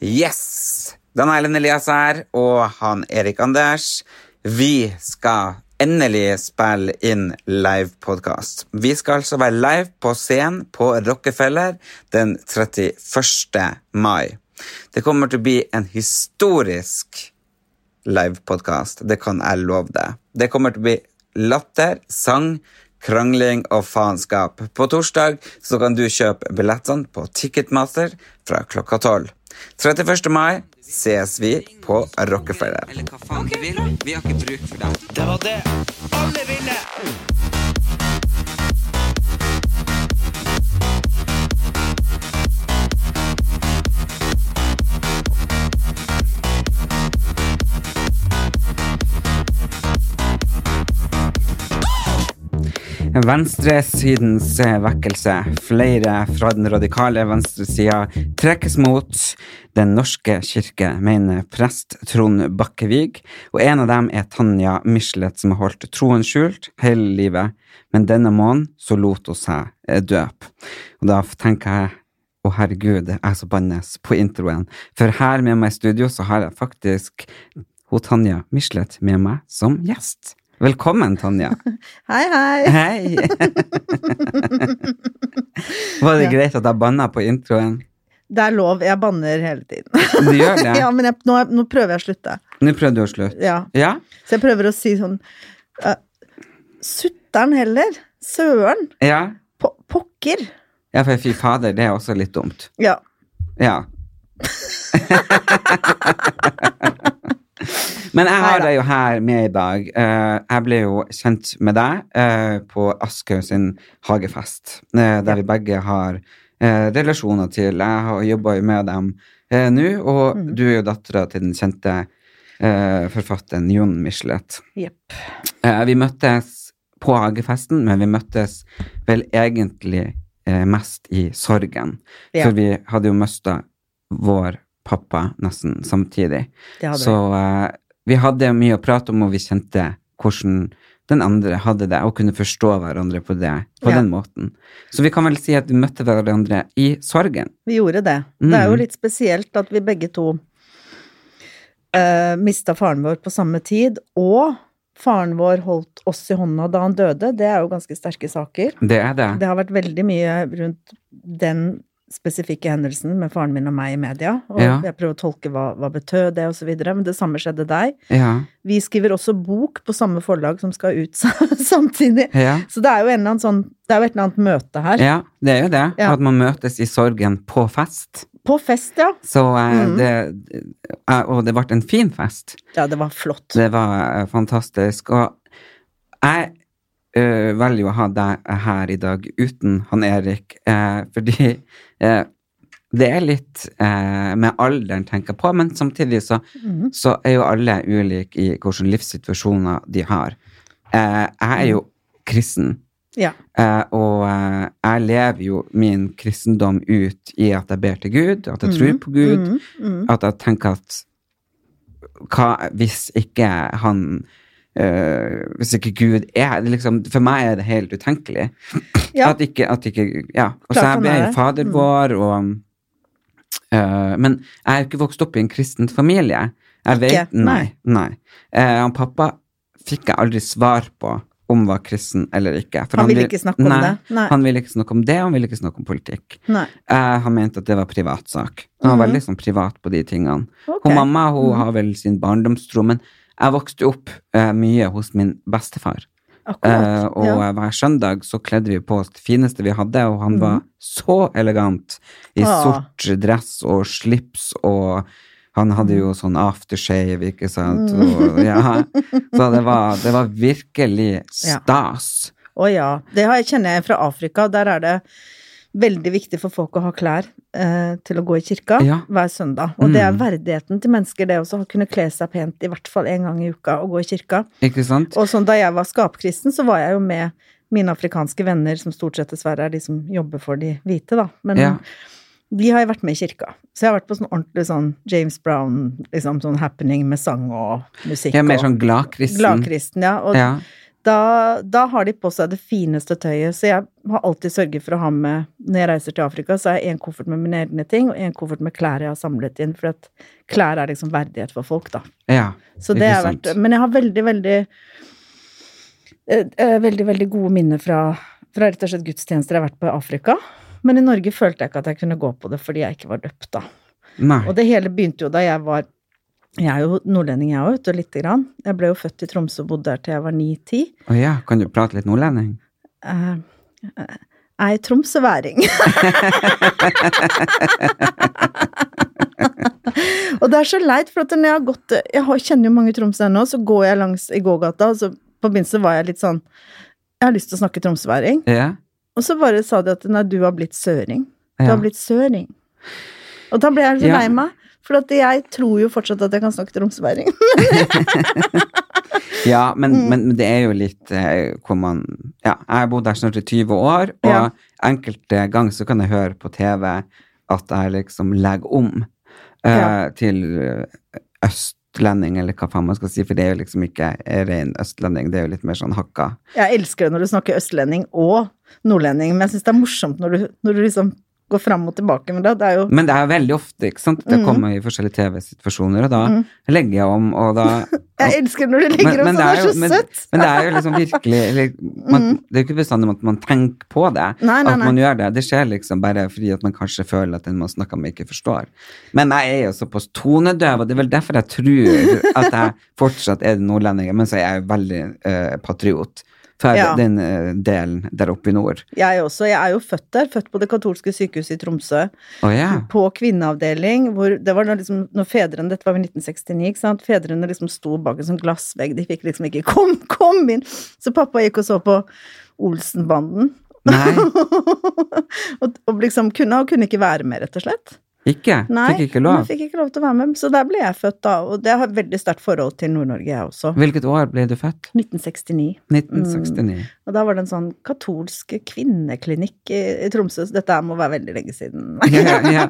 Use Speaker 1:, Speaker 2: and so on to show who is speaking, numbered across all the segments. Speaker 1: Yes! Dan Erlend Elias her, og han Erik Anders. Vi skal endelig spille inn livepodkast. Vi skal altså være live på scenen på Rockefeller den 31. mai. Det kommer til å bli en historisk livepodkast. Det kan jeg love deg. Det kommer til å bli latter, sang, krangling og faenskap. På torsdag så kan du kjøpe billettene på Ticketmaster fra klokka tolv. 31. mai ses vi på Rockefeller. Eller hva faen du vil. Vi har ikke bruk for dem. Venstresidens eh, vekkelse. Flere fra den radikale venstresida trekkes mot Den norske kirke, mener prest Trond Bakkevig. Og en av dem er Tanja Michelet, som har holdt troen skjult hele livet. Men denne måneden så lot hun seg eh, døpe. Og da tenker jeg å, herregud, jeg som bannes på introen. For her med meg i studio så har jeg faktisk hun Tanja Michelet med meg som gjest. Velkommen, Tanja.
Speaker 2: Hei, hei.
Speaker 1: Hei! Var det greit at jeg banna på introen?
Speaker 2: Det er lov. Jeg banner hele tiden.
Speaker 1: Du gjør det?
Speaker 2: Ja, men jeg, nå, nå prøver jeg å slutte.
Speaker 1: Nå prøvde du å slutte.
Speaker 2: Ja.
Speaker 1: Ja?
Speaker 2: Så jeg prøver å si sånn uh, Sutter'n heller. Søren.
Speaker 1: ja?
Speaker 2: Po pokker.
Speaker 1: Ja, for fy fader, det er også litt dumt.
Speaker 2: Ja.
Speaker 1: Ja. Men jeg har
Speaker 2: Neida.
Speaker 1: deg jo her med i dag. Eh, Jeg ble jo kjent med deg eh, på Askøy sin hagefest, eh, der vi begge har eh, relasjoner til. Jeg har jobba jo med dem eh, nå, og du er jo dattera til den kjente eh, forfatteren Jon Michelet.
Speaker 2: Jepp.
Speaker 1: Eh, Vi møttes på hagefesten, men vi møttes vel egentlig eh, mest i sorgen.
Speaker 2: Ja.
Speaker 1: For vi hadde jo mista vår pappa nesten samtidig.
Speaker 2: Det hadde
Speaker 1: Så eh, vi hadde mye å prate om, og vi kjente hvordan den andre hadde det, og kunne forstå hverandre på det, på
Speaker 2: Ja.
Speaker 1: den måten. Så vi kan vel si at vi møtte hverandre i sorgen.
Speaker 2: vi. Vi gjorde det. Det er
Speaker 1: Mhm.
Speaker 2: jo litt spesielt at vi begge to uh, mista faren vår på samme tid, og faren vår holdt oss i hånda da han døde. Det er jo ganske sterke saker.
Speaker 1: Det er det.
Speaker 2: Det har vært veldig mye rundt den spesifikke hendelsen med faren min og meg i media, og
Speaker 1: Ja.
Speaker 2: jeg prøver å tolke hva, hva betød det, og så videre, men det samme skjedde deg.
Speaker 1: Ja.
Speaker 2: Vi skriver også bok på samme forlag som skal ut samtidig,
Speaker 1: ja.
Speaker 2: så det er jo en eller annen sånn, det er jo et eller annet møte her.
Speaker 1: Ja, det er jo det.
Speaker 2: Ja.
Speaker 1: At man møtes i sorgen på fest.
Speaker 2: På fest, ja.
Speaker 1: Så eh,
Speaker 2: Mm.
Speaker 1: det, eh, og det ble en fin fest.
Speaker 2: Ja, det var flott.
Speaker 1: Det var eh, fantastisk. Og jeg eh, velger jo å ha deg her i dag uten han Erik, eh, fordi eh, det er litt eh, med alderen tenker jeg på, men samtidig så,
Speaker 2: Mhm.
Speaker 1: så er jo alle ulike i hvilke livssituasjoner de har. Eh, jeg er jo kristen.
Speaker 2: Ja.
Speaker 1: Eh, og eh, jeg lever jo min kristendom ut i at jeg ber til Gud, at jeg tror på Gud,
Speaker 2: Mhm, mhm.
Speaker 1: at jeg tenker at hva hvis ikke han eh, Hvis ikke Gud er det liksom, For meg er det helt utenkelig.
Speaker 2: Ja.
Speaker 1: At ikke, at ikke Ja. Og så
Speaker 2: Klart
Speaker 1: jeg
Speaker 2: han
Speaker 1: ber
Speaker 2: er
Speaker 1: jo
Speaker 2: det.
Speaker 1: Fader
Speaker 2: Mm.
Speaker 1: vår, og eh, Men jeg er jo ikke vokst opp i en kristen familie. Jeg
Speaker 2: Ikke?
Speaker 1: vet Nei. nei. Eh, han pappa fikk jeg aldri svar på om var kristen eller ikke. for
Speaker 2: Han ville ikke snakke om
Speaker 1: nei,
Speaker 2: det. Nei.
Speaker 1: Han ville ikke snakke om det, han ville ikke snakke om politikk.
Speaker 2: Nei.
Speaker 1: Eh, han mente at det var privatsak. Han var
Speaker 2: Mhm.
Speaker 1: veldig sånn privat på de tingene.
Speaker 2: Ok.
Speaker 1: Hun mamma hun
Speaker 2: Mhm.
Speaker 1: har vel sin barndomstro, men jeg vokste opp eh, mye hos min bestefar. Eh,
Speaker 2: Akkurat.
Speaker 1: og
Speaker 2: ja.
Speaker 1: eh, hver søndag så kledde vi på oss det fineste vi hadde, og han
Speaker 2: Mhm.
Speaker 1: var så elegant i
Speaker 2: Ah.
Speaker 1: sort dress og slips og han hadde jo sånn aftershave, ikke sant.
Speaker 2: Mm.
Speaker 1: Og, ja. Så det var, det var virkelig
Speaker 2: Ja.
Speaker 1: stas.
Speaker 2: Å ja. Det har, kjenner jeg fra Afrika. Der er det veldig viktig for folk å ha klær eh, til å gå i kirka
Speaker 1: Ja. Mm.
Speaker 2: hver søndag. Og det er verdigheten til mennesker, det også, å kunne kle seg pent i hvert fall én gang i uka og gå i kirka.
Speaker 1: Ikke sant?
Speaker 2: Og sånn da jeg var skapkristen, så var jeg jo med mine afrikanske venner, som stort sett dessverre er de som jobber for de hvite, da. Men
Speaker 1: Ja.
Speaker 2: de har jeg vært med i kirka. Så jeg har vært på sånn ordentlig sånn James Brown, liksom sånn happening med sang og musikk.
Speaker 1: Jeg er mer
Speaker 2: og-
Speaker 1: sånn glad kristen.
Speaker 2: Gladkristen, ja. Og
Speaker 1: Ja.
Speaker 2: da, da har de på seg det fineste tøyet, så jeg har alltid sørget for å ha med Når jeg reiser til Afrika, så har jeg en koffert med mine egne ting, og en koffert med klær jeg har samlet inn, for at klær er liksom verdighet for folk, da.
Speaker 1: ja.
Speaker 2: Så
Speaker 1: Ikke
Speaker 2: det har vært
Speaker 1: sant?
Speaker 2: Men jeg har veldig, veldig eh, eh, Veldig, veldig gode minner fra, fra rett og slett gudstjenester jeg har vært på i Afrika. Men i Norge følte jeg ikke at jeg kunne gå på det fordi jeg ikke var døpt, da.
Speaker 1: Nei.
Speaker 2: Og det hele begynte jo da jeg var Jeg er jo nordlending, jeg òg, vet du, lite grann. Jeg ble jo født i Tromsø og bodde der til jeg var ni-ti.
Speaker 1: Å ja, kan du prate litt nordlending?
Speaker 2: Eh, eh, Jeg er tromsøværing. og det er så leit, for at når jeg har gått Jeg har- kjenner jo mange i Tromsø ennå, så går jeg langs i gågata, og så på begynnelsen var jeg litt sånn Jeg har lyst til å snakke tromsøværing.
Speaker 1: Ja.
Speaker 2: Og så bare sa de at nei, du har blitt søring. Du
Speaker 1: Ja.
Speaker 2: har blitt søring. Og da ble jeg så
Speaker 1: Ja.
Speaker 2: lei meg, for at jeg tror jo fortsatt at jeg kan snakke tromsøværing.
Speaker 1: Ja, men,
Speaker 2: Mm.
Speaker 1: men det er jo litt eh, hvor man Ja, jeg har bodd her snart i 20 år, og
Speaker 2: Ja.
Speaker 1: enkelte ganger så kan jeg høre på TV at jeg liksom legger om eh,
Speaker 2: Ja.
Speaker 1: til eh, østlending, eller hva faen man skal si, for det er jo liksom ikke ren østlending, det er jo litt mer sånn hakka.
Speaker 2: Jeg elsker det når du snakker østlending og nordlending, men jeg syns det er morsomt når du, når du liksom går fram og tilbake med det. Det er jo
Speaker 1: Men det er veldig ofte, ikke sant?
Speaker 2: Mm.
Speaker 1: Det kommer i forskjellige TV-situasjoner, og da legger jeg om, og da
Speaker 2: Jeg elsker når du legger opp sånn, det er
Speaker 1: jo-
Speaker 2: så
Speaker 1: men,
Speaker 2: søtt! Mm.
Speaker 1: men det er jo liksom virkelig eller, man, Det er jo ikke bestandig at man tenker på det.
Speaker 2: Nei, nei,
Speaker 1: at man
Speaker 2: nei.
Speaker 1: gjør det. Det skjer liksom bare fordi at man kanskje føler at den man snakker med, ikke forstår. Men jeg er jo såpass tonedøv, og det er vel derfor jeg tror at jeg fortsatt er nordlending. Men så er jeg jo veldig eh, patriot for
Speaker 2: Ja.
Speaker 1: den eh, delen der oppe i nord.
Speaker 2: Jeg også. Jeg er jo født der. Født på det katolske sykehuset i Tromsø.
Speaker 1: Å ja.
Speaker 2: På kvinneavdeling, hvor det var da liksom når fedrene Dette var i 1969, ikke sant? Fedrene liksom sto bak en sånn glassvegg. De fikk liksom ikke Kom, kom inn! Så pappa gikk og så på Olsenbanden.
Speaker 1: Nei,
Speaker 2: og, og liksom kunne og kunne ikke være med, rett og slett.
Speaker 1: ikke.
Speaker 2: Nei,
Speaker 1: Fikk ikke
Speaker 2: men
Speaker 1: lov.
Speaker 2: fikk ikke lov til å være med. Så der ble jeg født, da. Og det har veldig sterkt forhold til Nord-Norge, jeg også.
Speaker 1: Hvilket år ble du født?
Speaker 2: 1969.
Speaker 1: 1969.
Speaker 2: Og da var det en sånn katolsk kvinneklinikk i, i Tromsø. Så dette her må være veldig lenge siden.
Speaker 1: ja, ja.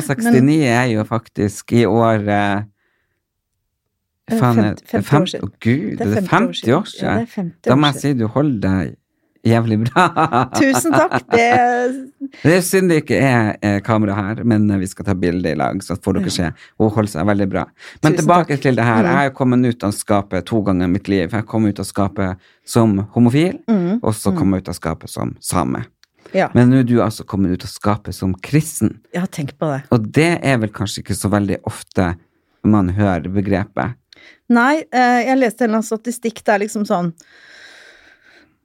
Speaker 1: ja, 69 er jo faktisk i år eh,
Speaker 2: Eh,
Speaker 1: Faen, er-
Speaker 2: 50 50 år
Speaker 1: fem-
Speaker 2: siden.
Speaker 1: Å, Gud, det er 50 år
Speaker 2: Ja, det
Speaker 1: siden!
Speaker 2: er 50
Speaker 1: Da må
Speaker 2: år
Speaker 1: jeg
Speaker 2: siden.
Speaker 1: si du holder deg jævlig bra.
Speaker 2: Tusen takk! Det,
Speaker 1: Det er synd det ikke er eh, kamera her, men eh, vi skal ta bilde i lag, så får dere se. Hun holder seg veldig bra. Men
Speaker 2: Tusen
Speaker 1: tilbake
Speaker 2: takk.
Speaker 1: til det her.
Speaker 2: Mm.
Speaker 1: Jeg har kommet ut av skapet to ganger i mitt liv. Jeg kom ut av skapet som homofil,
Speaker 2: Mm.
Speaker 1: og så kom jeg ut av skapet som same.
Speaker 2: ja,
Speaker 1: Men nå er du altså kommet ut av skapet som kristen.
Speaker 2: jeg har tenkt på det.
Speaker 1: Og det er vel kanskje ikke så veldig ofte man hører begrepet.
Speaker 2: Nei, eh, jeg leste en eller annen statistikk. Det er liksom sånn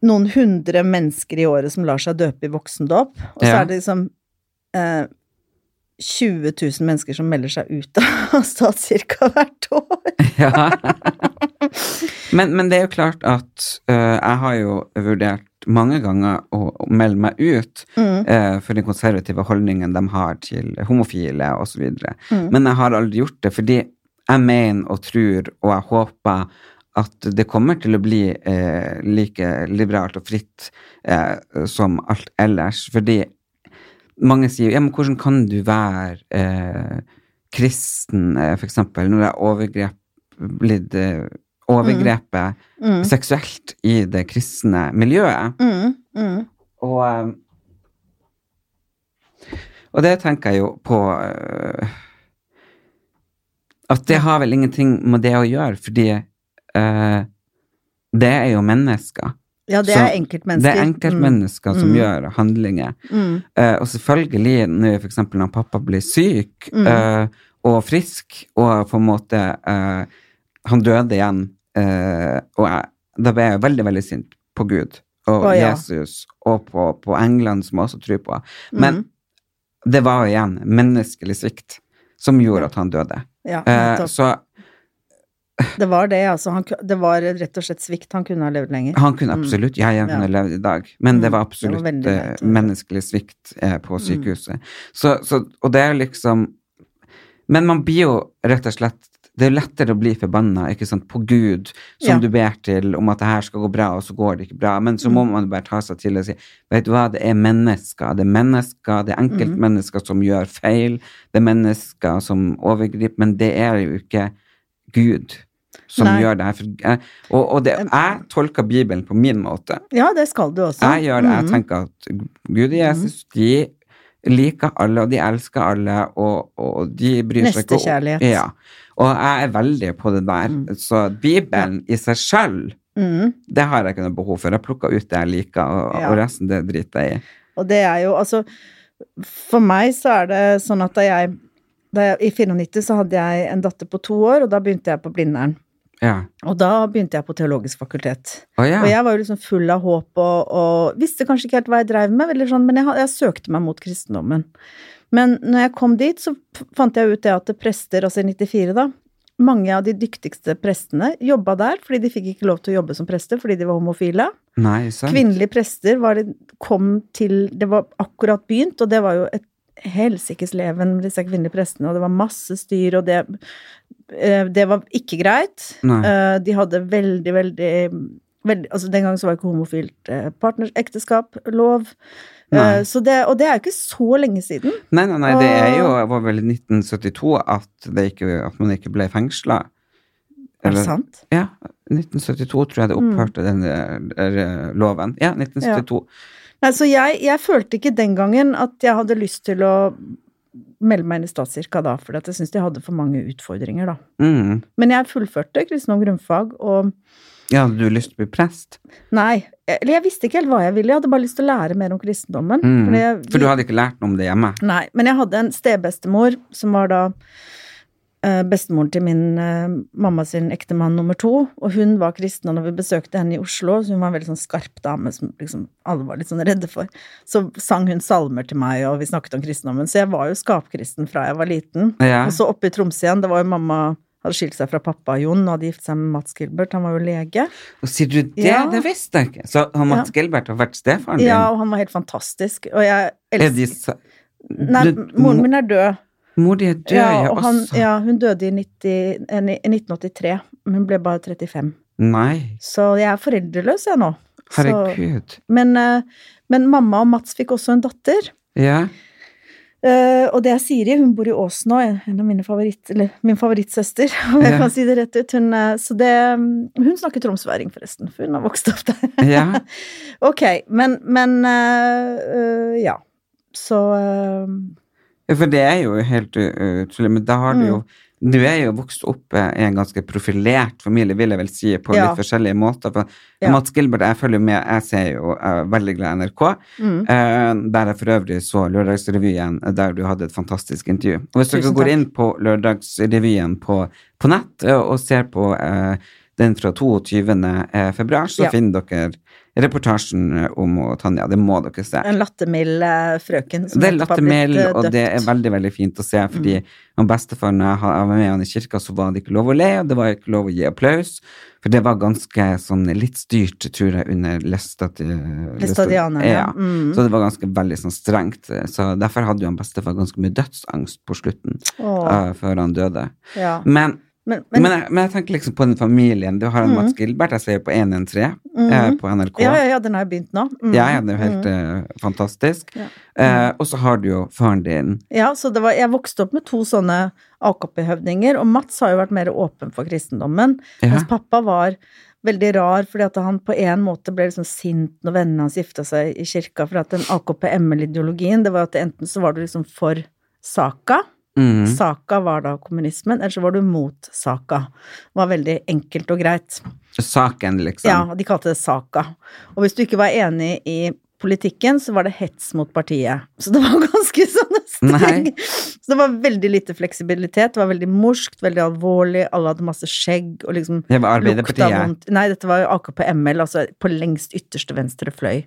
Speaker 2: noen hundre mennesker i året som lar seg døpe i voksendåp. Og så
Speaker 1: Ja.
Speaker 2: er det liksom eh, 20 000 mennesker som melder seg ut av statskirka hvert år.
Speaker 1: Ja. men, men det er jo klart at øh, jeg har jo vurdert mange ganger å å melde meg ut øh, for den konservative holdningen de har til homofile osv. videre Men jeg har aldri gjort det, fordi jeg mener og tror og jeg håper at det kommer til å bli eh, like liberalt og fritt eh, som alt ellers. Fordi mange sier ja, men hvordan kan du være eh, kristen, eh, for eksempel, når det er overgrep, blitt eh, overgrepet seksuelt i det kristne miljøet.
Speaker 2: Mm, mm.
Speaker 1: Og, eh, og det tenker jeg jo på eh, At det har vel ingenting med det å gjøre, fordi eh, det er jo mennesker.
Speaker 2: Ja, det
Speaker 1: Så
Speaker 2: er enkeltmennesker.
Speaker 1: Det er enkeltmennesker som gjør handlinger.
Speaker 2: Mm.
Speaker 1: Eh, og selvfølgelig, når for eksempel når pappa blir syk
Speaker 2: Mm.
Speaker 1: eh, og frisk, og på en måte eh, Han døde igjen, eh, og jeg, da ble jeg veldig, veldig sint på Gud og
Speaker 2: Å, ja.
Speaker 1: Jesus og på, på England, som jeg også tror på. Men
Speaker 2: Mm.
Speaker 1: det var jo igjen menneskelig svikt som gjorde at han døde.
Speaker 2: Ja,
Speaker 1: Eh,
Speaker 2: nettopp.
Speaker 1: så
Speaker 2: Det var det, altså. Han, ku- det var rett og slett svikt. Han kunne ha levd lenger.
Speaker 1: Han kunne absolutt Jeg, jeg kunne levd i dag. Men det var
Speaker 2: Mm. var
Speaker 1: absolutt
Speaker 2: veldig Mm.
Speaker 1: eh,
Speaker 2: leit å høre.
Speaker 1: menneskelig svikt eh, på sykehuset. Så, så, og det er jo liksom Men man blir jo rett og slett Det er jo lettere å bli forbanna ikke sant, på Gud, som
Speaker 2: Ja.
Speaker 1: du ber til om at det her skal gå bra, og så går det ikke bra. Men så
Speaker 2: Mm.
Speaker 1: må man bare ta seg til og si Vet du hva, det er mennesker. Det er mennesker,
Speaker 2: Mm.
Speaker 1: det er enkeltmennesker som gjør feil. Det er mennesker som overgriper, men det er jo ikke Gud. Som
Speaker 2: Nei.
Speaker 1: gjør det her. For, eh, og, og det, jeg tolker Bibelen på min måte.
Speaker 2: Ja, det skal du også.
Speaker 1: Jeg gjør det. Jeg
Speaker 2: Mm.
Speaker 1: tenker at Gud og Jesus, de liker alle, og de elsker alle, og, og de bryr seg ikke om
Speaker 2: Nestekjærlighet.
Speaker 1: Ja. Og jeg er veldig på det der. Så Bibelen i seg selv,
Speaker 2: Mm.
Speaker 1: det har jeg ikke noe behov for. Jeg plukker ut det jeg liker, og,
Speaker 2: Ja.
Speaker 1: og resten det driter jeg i.
Speaker 2: Og det er jo altså For meg så er det sånn at da jeg, da jeg I 94 så hadde jeg en datter på to år, og da begynte jeg på Blindern.
Speaker 1: Ja.
Speaker 2: Og da begynte jeg på Teologisk fakultet.
Speaker 1: Å ja.
Speaker 2: Og jeg var jo liksom full av håp og, og visste kanskje ikke helt hva jeg dreiv med, eller sånn, men jeg, ha- jeg søkte meg mot kristendommen. Men når jeg kom dit, så f- fant jeg ut det at prester, altså i 94 da, mange av de dyktigste prestene jobba der fordi de fikk ikke lov til å jobbe som prester fordi de var homofile.
Speaker 1: Nei, sant.
Speaker 2: Kvinnelige prester var det, kom til Det var akkurat begynt, og det var jo et helsikes leven med disse kvinnelige prestene, og det var masse styr, og det eh, Det var ikke greit.
Speaker 1: Nei.
Speaker 2: Eh, De hadde veldig, veldig Veldig, altså Den gangen så var ikke homofilt eh, partners, ekteskap, lov. Eh,
Speaker 1: Nei.
Speaker 2: Så det, og det er jo ikke så lenge siden.
Speaker 1: Nei, nei, nei, det er jo, det var vel i 1972 at, det ikke, at man ikke ble fengsla.
Speaker 2: Er det sant?
Speaker 1: Ja, 1972 tror jeg
Speaker 2: Mm.
Speaker 1: det opphørte den der, eh, loven. Ja, 1972.
Speaker 2: Nei, så jeg, jeg følte ikke den gangen at jeg hadde lyst til å melde meg inn i statskirka da, fordi at jeg syntes de hadde for mange utfordringer, da.
Speaker 1: Mm.
Speaker 2: Men jeg fullførte kristendom grunnfag, og
Speaker 1: Ja, hadde du lyst til å bli prest?
Speaker 2: Nei, eller jeg visste ikke helt hva jeg ville, jeg hadde bare lyst til å lære mer om kristendommen.
Speaker 1: Mm.
Speaker 2: fordi jeg-
Speaker 1: For du hadde ikke lært noe om det hjemme?
Speaker 2: Nei, men jeg hadde en stebestemor som var da eh, bestemoren til min eh, mamma sin ektemann nummer to, og hun var kristen, og når vi besøkte henne i Oslo, så hun var en veldig sånn skarp dame som liksom alle var litt sånn redde for, så sang hun salmer til meg, og vi snakket om kristendommen, så jeg var jo skapkristen fra jeg var liten.
Speaker 1: Ja.
Speaker 2: Og så oppe i Tromsø igjen, det var jo mamma hadde skilt seg fra pappa Jon, og hadde gift seg med Mats Gilbert, han var jo lege.
Speaker 1: Og sier du det?
Speaker 2: Ja.
Speaker 1: Det visste jeg ikke. Så han Mats Gilbert har vært stefaren din?
Speaker 2: Ja, og han var helt fantastisk, og jeg
Speaker 1: Er de
Speaker 2: elsker...
Speaker 1: sa-
Speaker 2: Nei,
Speaker 1: du-
Speaker 2: moren min er død.
Speaker 1: Mor di er død, ja, altså.
Speaker 2: og
Speaker 1: også.
Speaker 2: han, ja, hun døde i 90, eh, ni- 1983. men Hun ble bare 35.
Speaker 1: Nei,
Speaker 2: Så jeg er foreldreløs, jeg nå. Så-
Speaker 1: herregud.
Speaker 2: men, eh, men mamma og Mats fikk også en datter.
Speaker 1: Ja.
Speaker 2: Eh, og det er Siri. Hun bor i Ås nå, en- en av mine favoritt, eller min favorittsøster. Om jeg
Speaker 1: Ja.
Speaker 2: kan si det rett ut. Hun, eh, så det, hun snakker tromsværing, forresten, for hun har vokst opp der.
Speaker 1: Ja.
Speaker 2: ok, men, men eh, eh, Ja. Så eh,
Speaker 1: Ja, For det er jo helt uh, utrolig, men da har du jo
Speaker 2: Mm.
Speaker 1: Du er jo vokst opp eh, i en ganske profilert familie, vil jeg vel si, på
Speaker 2: Ja.
Speaker 1: litt forskjellige måter. For
Speaker 2: Ja.
Speaker 1: Mats Gilbert, jeg følger med, jeg ser jo jeg er veldig glad i NRK.
Speaker 2: Mm.
Speaker 1: eh, der jeg for øvrig så Lørdagsrevyen, eh, der du hadde et fantastisk intervju. Og hvis dere
Speaker 2: Tusen
Speaker 1: går
Speaker 2: takk.
Speaker 1: inn på Lørdagsrevyen på, på nett eh, og ser på eh, den fra 22. eh, februar, så
Speaker 2: Ja.
Speaker 1: finner dere reportasjen eh, om og Tanja. Det må dere se.
Speaker 2: en lattermild eh, frøken som
Speaker 1: Det er
Speaker 2: nettopp har
Speaker 1: lattermel,
Speaker 2: blitt, eh,
Speaker 1: og det er
Speaker 2: døpt.
Speaker 1: veldig veldig fint å se. fordi mm. Bestefar når jeg ha- jeg var med han i kirka, så var det ikke lov å le, og det var ikke lov å gi applaus. For det var ganske sånn litt styrt, tror jeg, under Lestat-
Speaker 2: Lestadianerne,
Speaker 1: Ja.
Speaker 2: ja. Mm.
Speaker 1: Så det var ganske veldig sånn strengt. Så derfor hadde jo han bestefar ganske mye dødsangst på slutten,
Speaker 2: Åh.
Speaker 1: eh, før han døde.
Speaker 2: Ja.
Speaker 1: Men
Speaker 2: Men,
Speaker 1: men,
Speaker 2: men, Mm.
Speaker 1: jeg, men jeg tenker liksom på den familien. Du har en Mats Gilbert, jeg ser jo på 113 eh, på NRK.
Speaker 2: ja, ja, ja, den har jo begynt nå. Mm.
Speaker 1: Ja, ja, det er jo helt eh, fantastisk. Eh, og så har du jo faren din.
Speaker 2: Ja, så det var, jeg vokste opp med to sånne AKP-høvdinger, og Mats har jo vært mer åpen for kristendommen,
Speaker 1: Ja.
Speaker 2: mens pappa var veldig rar, fordi at han på en måte ble liksom sint når vennene hans gifta seg i kirka, for at den AKP-ML-ideologien, det var at enten så var du liksom for saka,
Speaker 1: Mm.
Speaker 2: saka var da kommunismen, eller så var du mot saka. Det var veldig enkelt og greit.
Speaker 1: Saken, liksom.
Speaker 2: Ja, de kalte det saka. Og hvis du ikke var enig i politikken, så var det hets mot partiet. Så det var ganske sånn streng.
Speaker 1: Nei.
Speaker 2: Så det var veldig lite fleksibilitet, det var veldig morskt, veldig alvorlig, alle hadde masse skjegg og liksom
Speaker 1: Det var
Speaker 2: lukta
Speaker 1: Arbeiderpartiet.
Speaker 2: vondt. Nei, dette var jo AKP ML, altså på lengst ytterste venstre fløy.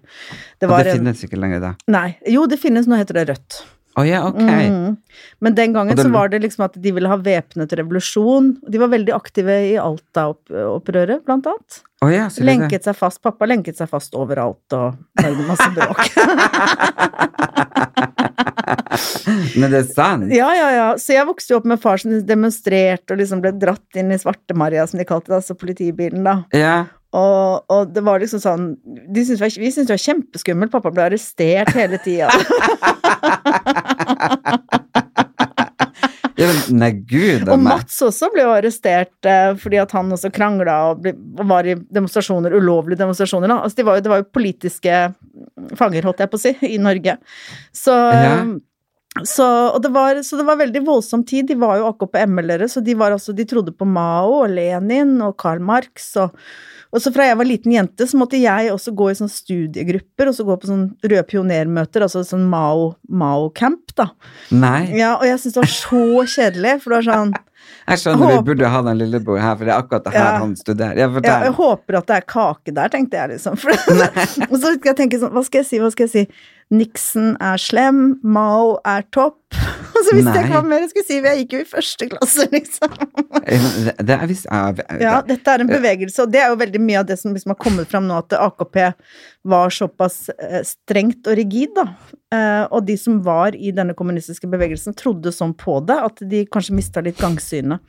Speaker 1: Og
Speaker 2: Det var
Speaker 1: det
Speaker 2: en
Speaker 1: finnes ikke lenger, da.
Speaker 2: Nei. Jo, det finnes, nå heter det Rødt.
Speaker 1: Å ja, ok.
Speaker 2: Mm. Men den gangen
Speaker 1: Og det-
Speaker 2: så var det liksom at de ville ha væpnet revolusjon. De var veldig aktive i Alta-opprøret, blant annet.
Speaker 1: Å ja, sier du det? sånn-
Speaker 2: Lenket seg fast. Pappa lenket seg fast overalt og lagde masse bråk.
Speaker 1: sånn. Men det er sant?
Speaker 2: ja, ja, ja. Så jeg vokste jo opp med far som demonstrerte og liksom ble dratt inn i Svarte-Maria, som de kalte det, altså politibilen, da.
Speaker 1: Ja.
Speaker 2: Og, og det var liksom sånn de syntes det var, Vi syntes det var kjempeskummelt. Pappa ble arrestert hele tida.
Speaker 1: ja men, nei, gud a
Speaker 2: Og
Speaker 1: meg.
Speaker 2: Mats også ble jo arrestert eh, fordi at han også krangla og, ble- og var i demonstrasjoner, ulovlige demonstrasjoner. Da. Altså, de var jo, det var jo politiske fanger, holdt jeg på å si, i Norge. Så,
Speaker 1: Ja.
Speaker 2: så, og det var, så det var veldig voldsom tid. De var jo AKP-ML-ere, så de, var altså, de trodde på Mao og Lenin og Karl Marx. Og, og så fra jeg var liten jente, så måtte jeg også gå i sånne studiegrupper og så gå på sånne røde pionermøter, altså sånn Mao- Mao-camp, da.
Speaker 1: Nei.
Speaker 2: Ja, og jeg syntes det var så kjedelig, for det var sånn
Speaker 1: Jeg skjønner
Speaker 2: Håp-
Speaker 1: vi burde ha den lillebror her, for det er akkurat det her
Speaker 2: Ja.
Speaker 1: han studerer. Ja,
Speaker 2: Ja, jeg
Speaker 1: fortell.
Speaker 2: håper at det er kake der, tenkte jeg liksom. For, og så skal jeg tenke sånn, hva skal jeg si, hva skal jeg si? Nixon er slem, Mao er topp. Og så visste jeg ikke
Speaker 1: Nei.
Speaker 2: hva mer jeg skulle si, for jeg gikk jo i første klasse, liksom.
Speaker 1: Det, det er visst ja, det-
Speaker 2: Ja, dette er en bevegelse, og det er jo veldig mye av det som liksom har kommet fram nå, at AKP var såpass eh, strengt og rigid, da. Eh, Og de som var i denne kommunistiske bevegelsen, trodde sånn på det, at de kanskje mista litt gangsynet.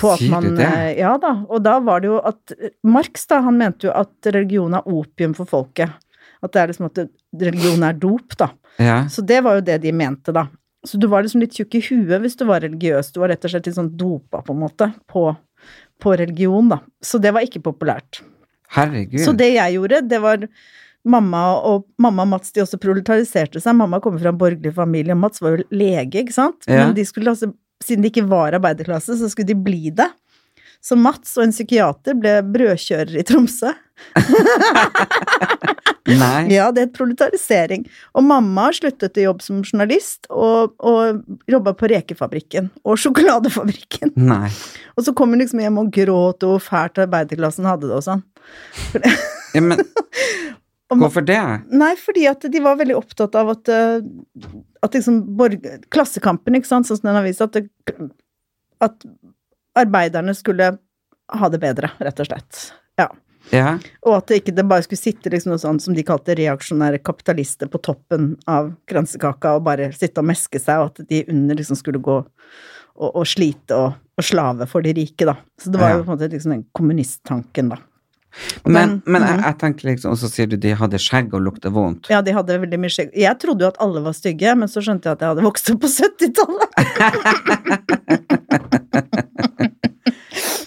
Speaker 2: På at
Speaker 1: Sier du
Speaker 2: man,
Speaker 1: det?
Speaker 2: eh, ja da, og da var det jo at eh, Marx da, han mente jo at religion er opium for folket. At det er liksom at religion er dop, da.
Speaker 1: ja.
Speaker 2: Så det var jo det de mente, da. Så du var liksom litt tjukk i huet hvis du var religiøs. Du var rett og slett litt sånn dopa, på en måte, på, på religion, da. Så det var ikke populært.
Speaker 1: Herregud.
Speaker 2: Så det jeg gjorde, det var mamma og mamma og Mats, de også proletariserte seg. Mamma kommer fra en borgerlig familie, og Mats var jo lege, ikke sant?
Speaker 1: Ja.
Speaker 2: Men de skulle altså, siden de ikke var arbeiderklasse, så skulle de bli det. Så Mats og en psykiater ble brødkjører i Tromsø.
Speaker 1: Nei.
Speaker 2: Ja, det het proletarisering. Og mamma sluttet i jobb som journalist og, og jobba på rekefabrikken og sjokoladefabrikken.
Speaker 1: Nei.
Speaker 2: Og så kom hun liksom hjem og gråt og hvor fælt arbeiderklassen hadde det og sånn.
Speaker 1: Ja, men hvorfor det?
Speaker 2: Nei, fordi at de var veldig opptatt av at, eh, at liksom borg- Klassekampen, ikke sant, sånn som den har vist, at, det, at arbeiderne skulle ha det bedre, rett og slett. Ja.
Speaker 1: Ja.
Speaker 2: Og at det ikke det bare skulle sitte liksom noe sånt som de kalte reaksjonære kapitalister på toppen av kransekaka og bare sitte og meske seg, og at de under liksom skulle gå og, og slite og, og slave for de rike, da. Så det var
Speaker 1: Ja.
Speaker 2: jo på en måte liksom den kommunisttanken, da.
Speaker 1: Men,
Speaker 2: den-
Speaker 1: men jeg, jeg tenker liksom, og så sier du de hadde skjegg og lukta vondt.
Speaker 2: Ja, de hadde veldig mye skjegg. Jeg trodde jo at alle var stygge, men så skjønte jeg at jeg hadde vokst opp på 70-tallet.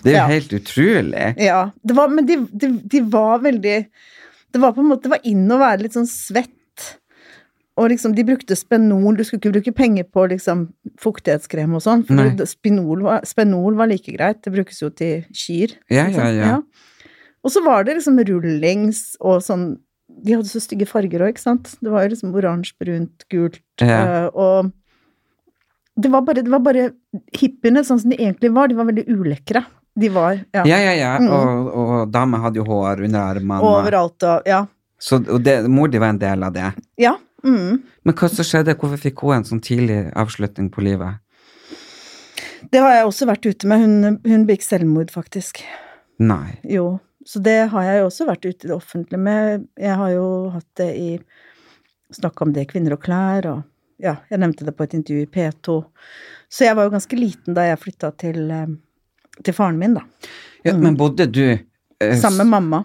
Speaker 1: Det er jo
Speaker 2: Ja.
Speaker 1: helt utrolig.
Speaker 2: Ja, det var, men de, de, de var veldig Det var på en måte det var inn å være litt sånn svett. Og liksom, de brukte spenol. Du skulle ikke bruke penger på liksom fuktighetskrem og sånn. For
Speaker 1: Nei.
Speaker 2: det- spenol var, spenol var like greit. Det brukes jo til kyr.
Speaker 1: Ja,
Speaker 2: ikke sant?
Speaker 1: ja, ja.
Speaker 2: Og så var det liksom rullings og sånn De hadde så stygge farger òg, ikke sant? Det var jo liksom oransje, brunt, gult
Speaker 1: Ja.
Speaker 2: eh, og det var, bare, det var bare hippiene sånn som de egentlig var. De var veldig ulekre. De var ja,
Speaker 1: Ja, ja, ja.
Speaker 2: Mm.
Speaker 1: Og, og damer hadde jo hår under armene.
Speaker 2: overalt og Ja.
Speaker 1: Så og det, mor di var en del av det.
Speaker 2: Ja. Mm.
Speaker 1: Men hva som skjedde? Hvorfor fikk hun en sånn tidlig avslutning på livet?
Speaker 2: Det har jeg også vært ute med. Hun, hun begikk selvmord, faktisk.
Speaker 1: Nei.
Speaker 2: Jo. Så det har jeg jo også vært ute i det offentlige med. Jeg har jo hatt det i Snakka om det i Kvinner og klær, og ja, jeg nevnte det på et intervju i P2. Så jeg var jo ganske liten da jeg flytta til, eh, til faren min, da.
Speaker 1: Ja,
Speaker 2: Mm.
Speaker 1: Men bodde du eh,
Speaker 2: Sammen med mamma.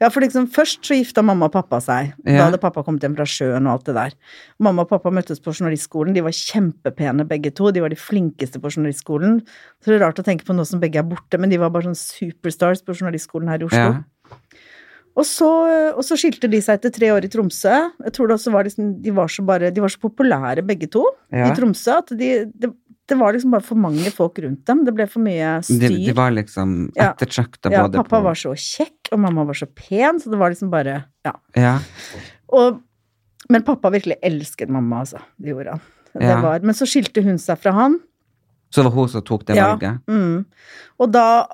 Speaker 2: Ja, for liksom først så gifta mamma og pappa seg.
Speaker 1: Ja.
Speaker 2: Da hadde pappa kommet hjem fra sjøen og alt det der. Mamma og pappa møttes på journalistskolen. De var kjempepene begge to. De var de flinkeste på journalistskolen. Så det er rart å tenke på nå som begge er borte, men de var bare sånn superstars på journalistskolen her i Oslo.
Speaker 1: ja.
Speaker 2: Og, så, og så skilte de seg etter tre år i Tromsø. Jeg tror det også var liksom De var så, bare, de var så populære begge to
Speaker 1: Ja.
Speaker 2: i Tromsø at de det, det var liksom bare for mange folk rundt dem. Det ble for mye styr.
Speaker 1: De, de var liksom
Speaker 2: Ja.
Speaker 1: ettertrakta
Speaker 2: Ja,
Speaker 1: både
Speaker 2: pappa
Speaker 1: på
Speaker 2: var så kjekk, og mamma var så pen, så det var liksom bare Ja.
Speaker 1: Ja.
Speaker 2: Og, men pappa virkelig elsket mamma, altså. Det gjorde han.
Speaker 1: Ja.
Speaker 2: Det var, men så skilte hun seg fra han.
Speaker 1: Så det var hun som tok det
Speaker 2: Ja.
Speaker 1: valget?
Speaker 2: Mm. Og da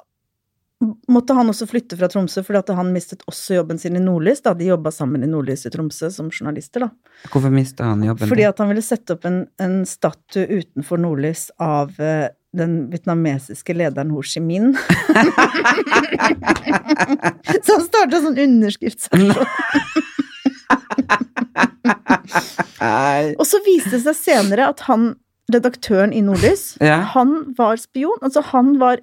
Speaker 2: måtte han også flytte fra Tromsø, fordi at han mistet også jobben sin i Nordlys. Da. De jobba sammen i Nordlys i Tromsø som journalister, da.
Speaker 1: Hvorfor mista han jobben?
Speaker 2: Fordi at han ville sette opp en, en statue utenfor Nordlys av eh, den vietnamesiske lederen Ho Chi Minh. Så han starta sånn underskriftsaksjon.
Speaker 1: Nei.
Speaker 2: Og så viste det seg senere at han, redaktøren i Nordlys,
Speaker 1: Ja.
Speaker 2: han var spion. Altså han var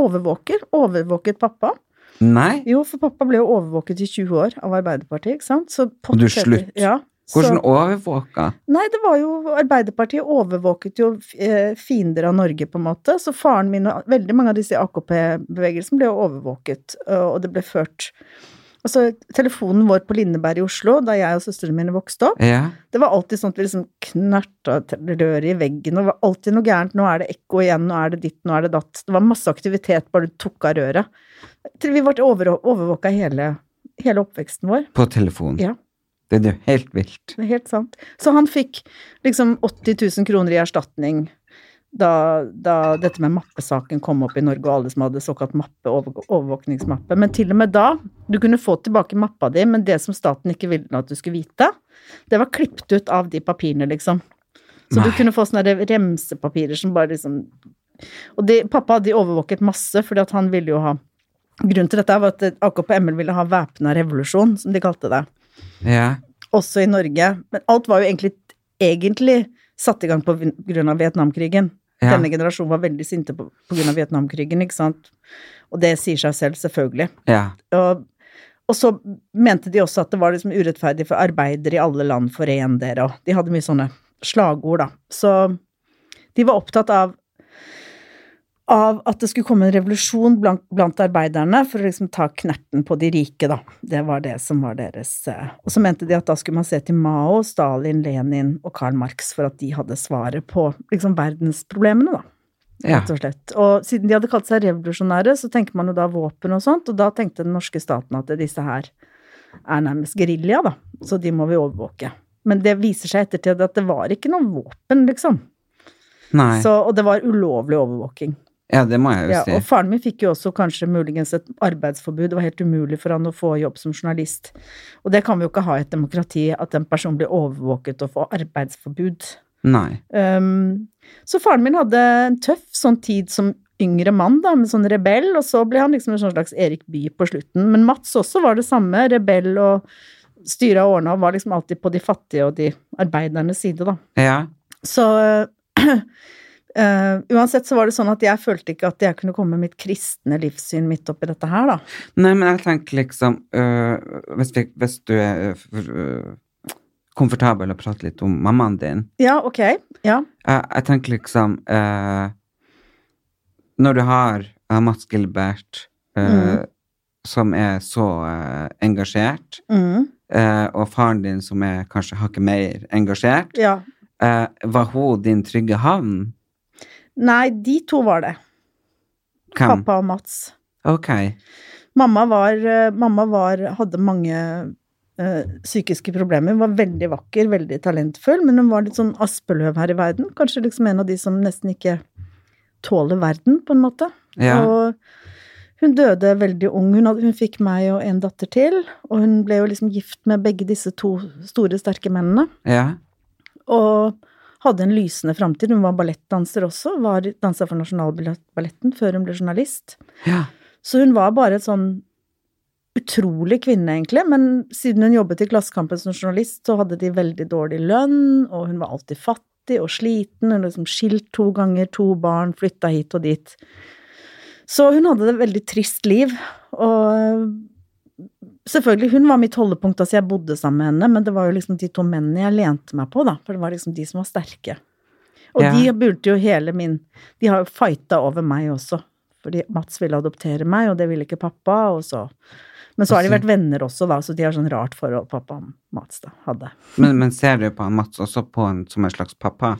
Speaker 2: overvåker. Overvåket pappa.
Speaker 1: Nei?
Speaker 2: Jo, for pappa ble jo overvåket i 20 år av Arbeiderpartiet, ikke sant? Så
Speaker 1: Og du
Speaker 2: potter-
Speaker 1: slutt.
Speaker 2: Ja.
Speaker 1: Hvordan
Speaker 2: Så,
Speaker 1: overvåka?
Speaker 2: nei, det var jo Arbeiderpartiet overvåket jo eh, fiender av Norge, på en måte. Så faren min og veldig mange av disse i AKP-bevegelsen ble jo overvåket, ø, og det ble ført Altså, telefonen vår på Lindeberg i Oslo, da jeg og søstrene mine vokste opp,
Speaker 1: Ja.
Speaker 2: det var alltid sånn at vi liksom knerta te- røret i veggen, og det var alltid noe gærent. Nå er det ekko igjen, nå er det ditt, nå er det datt. Det var masse aktivitet bare du tok av røret. Jeg tror Vi ble over, overvåka hele, hele oppveksten vår.
Speaker 1: På telefon.
Speaker 2: Ja.
Speaker 1: Det er jo helt vilt.
Speaker 2: Det er helt sant. Så han fikk liksom 80 000 kroner i erstatning da, da dette med mappesaken kom opp i Norge, og alle som hadde såkalt mappe, over, overvåkningsmappe. Men til og med da, du kunne få tilbake mappa di, men det som staten ikke ville at du skulle vite, det var klippet ut av de papirene, liksom. Så
Speaker 1: Nei.
Speaker 2: du kunne få sånne der remsepapirer som bare liksom Og de, pappa hadde overvåket masse, fordi at han ville jo ha Grunnen til dette var at AKP-ML ville ha væpna revolusjon, som de kalte det
Speaker 1: Ja.
Speaker 2: også i Norge. Men alt var jo egentlig, egentlig satt i gang på vin- grunn av Vietnamkrigen.
Speaker 1: Ja.
Speaker 2: Denne generasjonen var veldig sinte på, på grunn av Vietnamkrigen, ikke sant. Og det sier seg selv, selvfølgelig.
Speaker 1: ja.
Speaker 2: Og, og så mente de også at det var liksom urettferdig for arbeidere i alle land, foren dere, og de hadde mye sånne slagord, da. Så de var opptatt av av at det skulle komme en revolusjon blant, blant arbeiderne for å liksom ta knerten på de rike, da. Det var det som var deres eh, Og så mente de at da skulle man se til Mao, Stalin, Lenin og Karl Marx for at de hadde svaret på liksom verdensproblemene, da
Speaker 1: ja.
Speaker 2: rett og slett. Og siden de hadde kalt seg revolusjonære, så tenker man jo da våpen og sånt, og da tenkte den norske staten at disse her er nærmest gerilja, da, så de må vi overvåke. Men det viser seg i ettertid at det var ikke noe våpen, liksom.
Speaker 1: Nei.
Speaker 2: Så, og det var ulovlig overvåking.
Speaker 1: Ja, det må jeg jo
Speaker 2: Ja,
Speaker 1: si.
Speaker 2: og faren min fikk jo også kanskje muligens et arbeidsforbud. Det var helt umulig for han å få jobb som journalist. Og det kan vi jo ikke ha i et demokrati, at en person blir overvåket og får arbeidsforbud.
Speaker 1: Nei.
Speaker 2: Um, så faren min hadde en tøff sånn tid som yngre mann, da, med sånn rebell, og så ble han liksom en sånn slags Erik Bye på slutten. Men Mats også var det samme, rebell og styra og ordna, og var liksom alltid på de fattige og de arbeidernes side, da.
Speaker 1: Ja.
Speaker 2: Så eh, uansett så var det sånn at jeg følte ikke at jeg kunne komme med mitt kristne livssyn midt oppi dette her, da.
Speaker 1: Nei, men jeg tenker liksom øh, hvis, vi, hvis du er øh, for, øh, komfortabel å prate litt om mammaen din
Speaker 2: Ja, ok. Ja.
Speaker 1: Jeg, jeg tenker liksom øh, Når du har øh, Mats Gilbert,
Speaker 2: Mm.
Speaker 1: øh, som er så øh, engasjert,
Speaker 2: Mm,
Speaker 1: øh, og faren din som er kanskje hakket mer engasjert,
Speaker 2: ja.
Speaker 1: øh, var hun din trygge havn?
Speaker 2: Nei, de to var det.
Speaker 1: Hvem?
Speaker 2: Pappa og Mats.
Speaker 1: Ok.
Speaker 2: Mamma, var, eh, mamma var, hadde mange eh, psykiske problemer. Hun var veldig vakker, veldig talentfull, men hun var litt sånn aspeløv her i verden. Kanskje liksom en av de som nesten ikke tåler verden, på en måte.
Speaker 1: Ja.
Speaker 2: Og hun døde veldig ung. Hun, hadde, hun fikk meg og en datter til, og hun ble jo liksom gift med begge disse to store, sterke mennene.
Speaker 1: Ja.
Speaker 2: Og hadde en lysende framtid. Hun var ballettdanser også, var dansa for Nasjonalballetten før hun ble journalist.
Speaker 1: Ja.
Speaker 2: Så hun var bare et sånn utrolig kvinne, egentlig. Men siden hun jobbet i Klassekampen som journalist, så hadde de veldig dårlig lønn, og hun var alltid fattig og sliten. Hun liksom skilt to ganger, to barn, flytta hit og dit. Så hun hadde et veldig trist liv, og Selvfølgelig, hun var mitt holdepunkt, altså jeg bodde sammen med henne, men det var jo liksom de to mennene jeg lente meg på, da, for det var liksom de som var sterke. Og
Speaker 1: Ja.
Speaker 2: de burde jo hele min De har jo fighta over meg også, fordi Mats ville adoptere meg, og det ville ikke pappa, og så Men så har de vært venner også, da, så de har sånn rart forhold pappa og Mats da hadde.
Speaker 1: Men, men ser du på han Mats også på han som en slags pappa?